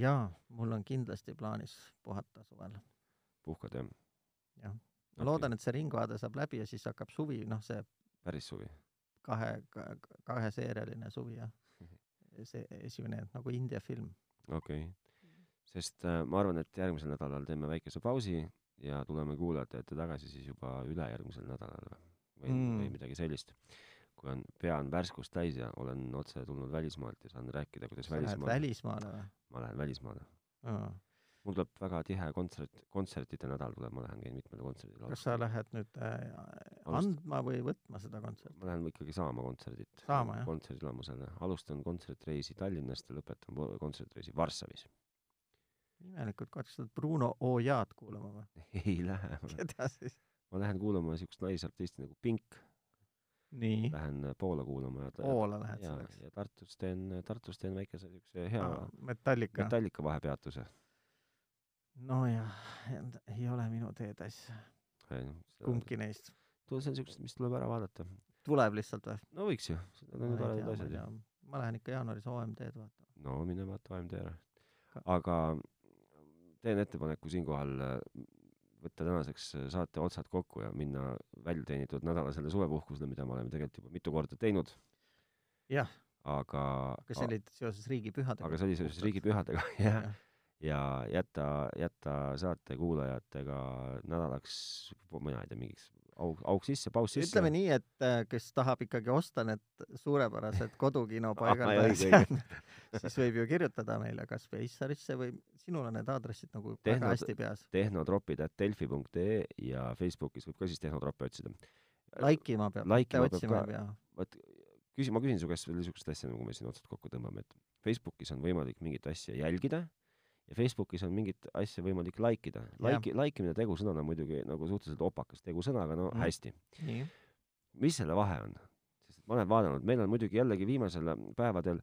Speaker 2: jaa , mul on kindlasti plaanis puhata suvel . ma
Speaker 1: puhkad jah ?
Speaker 2: Jah. loodan , et see ringhade saab läbi ja siis hakkab suvi , noh , see
Speaker 1: et päris suvi .
Speaker 2: kahe , kaheseerialine suvi ja see esimene nagu India film .
Speaker 1: okei okay. . sest äh, ma arvan , et järgmisel nädalal teeme väikese pausi ja tuleme kuulajate ette tagasi siis juba ülejärgmisel nädalal või , või mm.
Speaker 2: Mm. ,
Speaker 1: või midagi sellist . kui on , pea on värskust täis ja olen otse tulnud välismaalt ja saan rääkida , kuidas
Speaker 2: sa lähed
Speaker 1: välismaal ,
Speaker 2: välismaale või ?
Speaker 1: ma lähen välismaale . mul tuleb väga tihe kontsert , kontsertide nädal tuleb , ma lähen käin mitmele kontserdile .
Speaker 2: kas sa lähed nüüd äh, andma või võtma seda kontserti ?
Speaker 1: ma lähen ikkagi saama kontserdit
Speaker 2: Saama, jah. .
Speaker 1: kontserdielamusele . alustan kontsertreisi Tallinnast ja lõpetan po- kontsertreisi Varssavis .
Speaker 2: imelikult kohad , kas sa oled Bruno Ojaad kuulama või ?
Speaker 1: ei lähe ,
Speaker 2: keda siis ?
Speaker 1: ma lähen kuulama siukest naisartisti nagu Pink ,
Speaker 2: nii ,
Speaker 1: lähen äh, Poola kuulama ja,
Speaker 2: Poola lähed
Speaker 1: ja,
Speaker 2: selleks ?
Speaker 1: ja Tartus teen , Tartus teen väikese siukse hea no,
Speaker 2: Metallica .
Speaker 1: Metallica vahepeatuse .
Speaker 2: nojah , ei ole minu teetäis , kumbki neist .
Speaker 1: see on siuksed , mis tuleb ära vaadata .
Speaker 2: tuleb lihtsalt või ?
Speaker 1: no võiks ju , need on ju
Speaker 2: Ma ei
Speaker 1: toredad
Speaker 2: tea, ma ei
Speaker 1: asjad ju
Speaker 2: tea. . ma lähen ikka jaanuaris OMD-d vaatama .
Speaker 1: no mine vaata AMD ära
Speaker 2: Ka- .
Speaker 1: aga teen ettepaneku siinkohal äh, võtta tänaseks äh, saate otsad kokku ja minna väljateenitud nädalasele suvepuhkusele , mida me oleme tegelikult juba mitu korda teinud .
Speaker 2: Jah.
Speaker 1: aga ,
Speaker 2: kas see
Speaker 1: aga
Speaker 2: oli seoses riigipühadega ?
Speaker 1: see oli seoses riigipühadega , jah . ja jäta , jäta saate kuulajatega nädalaks , mina ei tea , mingiks auk , auk sisse , paus sisse .
Speaker 2: ütleme nii , et äh, kes tahab ikkagi osta need suurepärased kodukino
Speaker 1: Ah,
Speaker 2: paigaldajad
Speaker 1: õige, ,
Speaker 2: siis võib ju kirjutada meile kas Facebookisse või sinul on need aadressid nagu
Speaker 1: Tehnod-
Speaker 2: väga hästi peas .
Speaker 1: tehnotropid at delfi.ee ja Facebookis võib ka siis tehnotroppe otsida .
Speaker 2: laikima peab , mitte
Speaker 1: Laikima peab
Speaker 2: otsima
Speaker 1: ka.
Speaker 2: ei pea .
Speaker 1: vot küsi- , ma küsin su käest veel niisugust asja , nagu me siin otsad kokku tõmbame , et Facebookis on võimalik mingit asja jälgida ja Facebookis on mingit asja võimalik like ida .
Speaker 2: Jah.
Speaker 1: Like , like imine tegusõnana on muidugi nagu suhteliselt opakas tegusõna , aga no
Speaker 2: Mhm.
Speaker 1: mm. hästi .
Speaker 2: nii ,
Speaker 1: mis selle vahe on? sest et ma olen vaadanud, meil on muidugi jällegi viimasel päevadel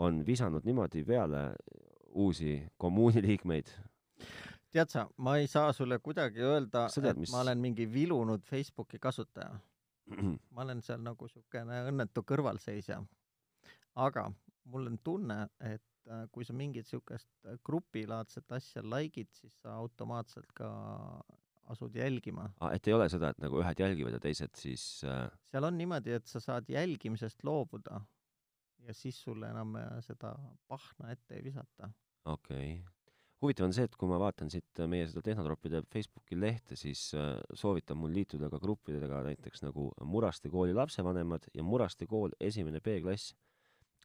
Speaker 1: on visanud niimoodi peale uusi kommuuni liikmeid.
Speaker 2: tead sa, ma ei saa sulle kuidagi öelda,
Speaker 1: Sa tead,
Speaker 2: et
Speaker 1: mis-
Speaker 2: ma olen mingi vilunud Facebooki kasutaja ma olen seal nagu siukene õnnetu kõrvalseisja . aga mul on tunne , et äh, kui sa mingit siukest grupilaadset asja like'id , siis sa automaatselt ka asud jälgima .
Speaker 1: Ah, et ei ole seda , et nagu ühed jälgivad ja teised siis äh,
Speaker 2: seal on niimoodi , et sa saad jälgimisest loobuda ja siis sulle enam äh, seda pahna ette ei visata .
Speaker 1: okei okay. . huvitav on see , et kui ma vaatan siit äh, meie seda Tehnotroppide Facebooki lehte , siis äh, soovitab mul liituda ka gruppidega näiteks nagu Muraste kooli lapsevanemad ja Muraste kool esimene B-klass .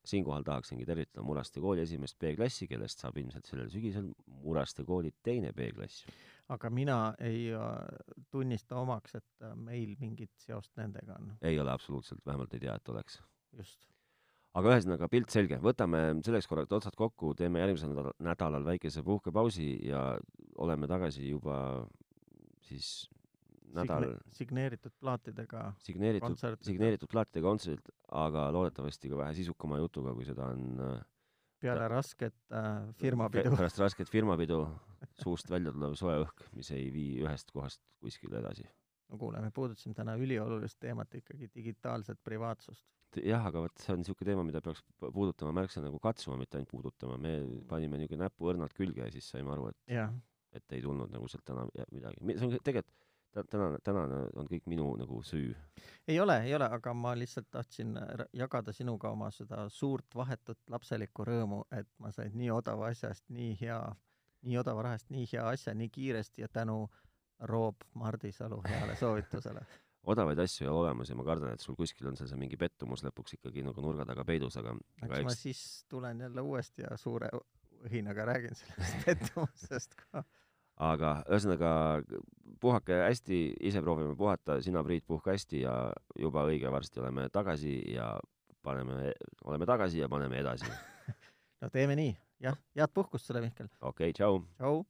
Speaker 1: siinkohal tahaksingi tervitada Muraste kooli esimest B-klassi , kellest saab ilmselt sellel sügisel Muraste kooli teine B-klass .
Speaker 2: aga mina ei äh, tunnista omaks , et äh, meil mingit seost nendega on ,
Speaker 1: ei ole absoluutselt , vähemalt ei tea , et oleks .
Speaker 2: just .
Speaker 1: aga ühesõnaga pilt selge , võtame selleks korraks otsad kokku , teeme järgmisel nädal- nädalal väikese puhkepausi ja oleme tagasi juba siis nädal
Speaker 2: signeeritud plaatidega
Speaker 1: signeeritud ,
Speaker 2: kontsertidel.
Speaker 1: signeeritud plaatide kontserdid , aga loodetavasti ka vähe sisukama jutuga , kui seda on äh,
Speaker 2: peale rasket äh,
Speaker 1: pe-
Speaker 2: firmapidu .
Speaker 1: pärast rasket firmapidu suust välja tulev soe õhk , mis ei vii ühest kohast kuskile edasi .
Speaker 2: no kuule , me puudutasime täna üliolulist teemat ikkagi digitaalset privaatsust .
Speaker 1: jah , aga vot see on niisugune teema , mida peaks pu- puudutama märksa nagu katsuma , mitte ainult puudutama , me panime niisugune näpu õrnalt külge ja siis saime aru , et
Speaker 2: jah ,
Speaker 1: et ei tulnud nagu sealt täna ja- midagi . see on kõ- tegelikult tä- tänane , tänane on kõik minu nagu süü .
Speaker 2: ei ole , ei ole , aga ma lihtsalt tahtsin ra- jagada sinuga oma seda suurt vahetut lapselikku rõõmu , et ma sain nii odava asjast nii hea , nii odava rahast nii hea asja nii kiiresti ja tänu Roob Mardisalu heale soovitusele .
Speaker 1: odavaid asju ei ole olemas ja ma kardan , et sul kuskil on seal see mingi pettumus lõpuks ikkagi nagu nurga taga peidus , aga , aga
Speaker 2: eks ma
Speaker 1: eks
Speaker 2: siis tulen jälle uuesti ja suure õhinaga räägin sellest pettumusest ka .
Speaker 1: aga ühesõnaga puhake hästi , ise proovime puhata , sina , Priit , puhka hästi ja juba õige varsti oleme tagasi ja paneme , oleme tagasi ja paneme edasi .
Speaker 2: no teeme nii , jah , head puhkust sulle , Mihkel ,
Speaker 1: okei okay, , tšau .
Speaker 2: tšau .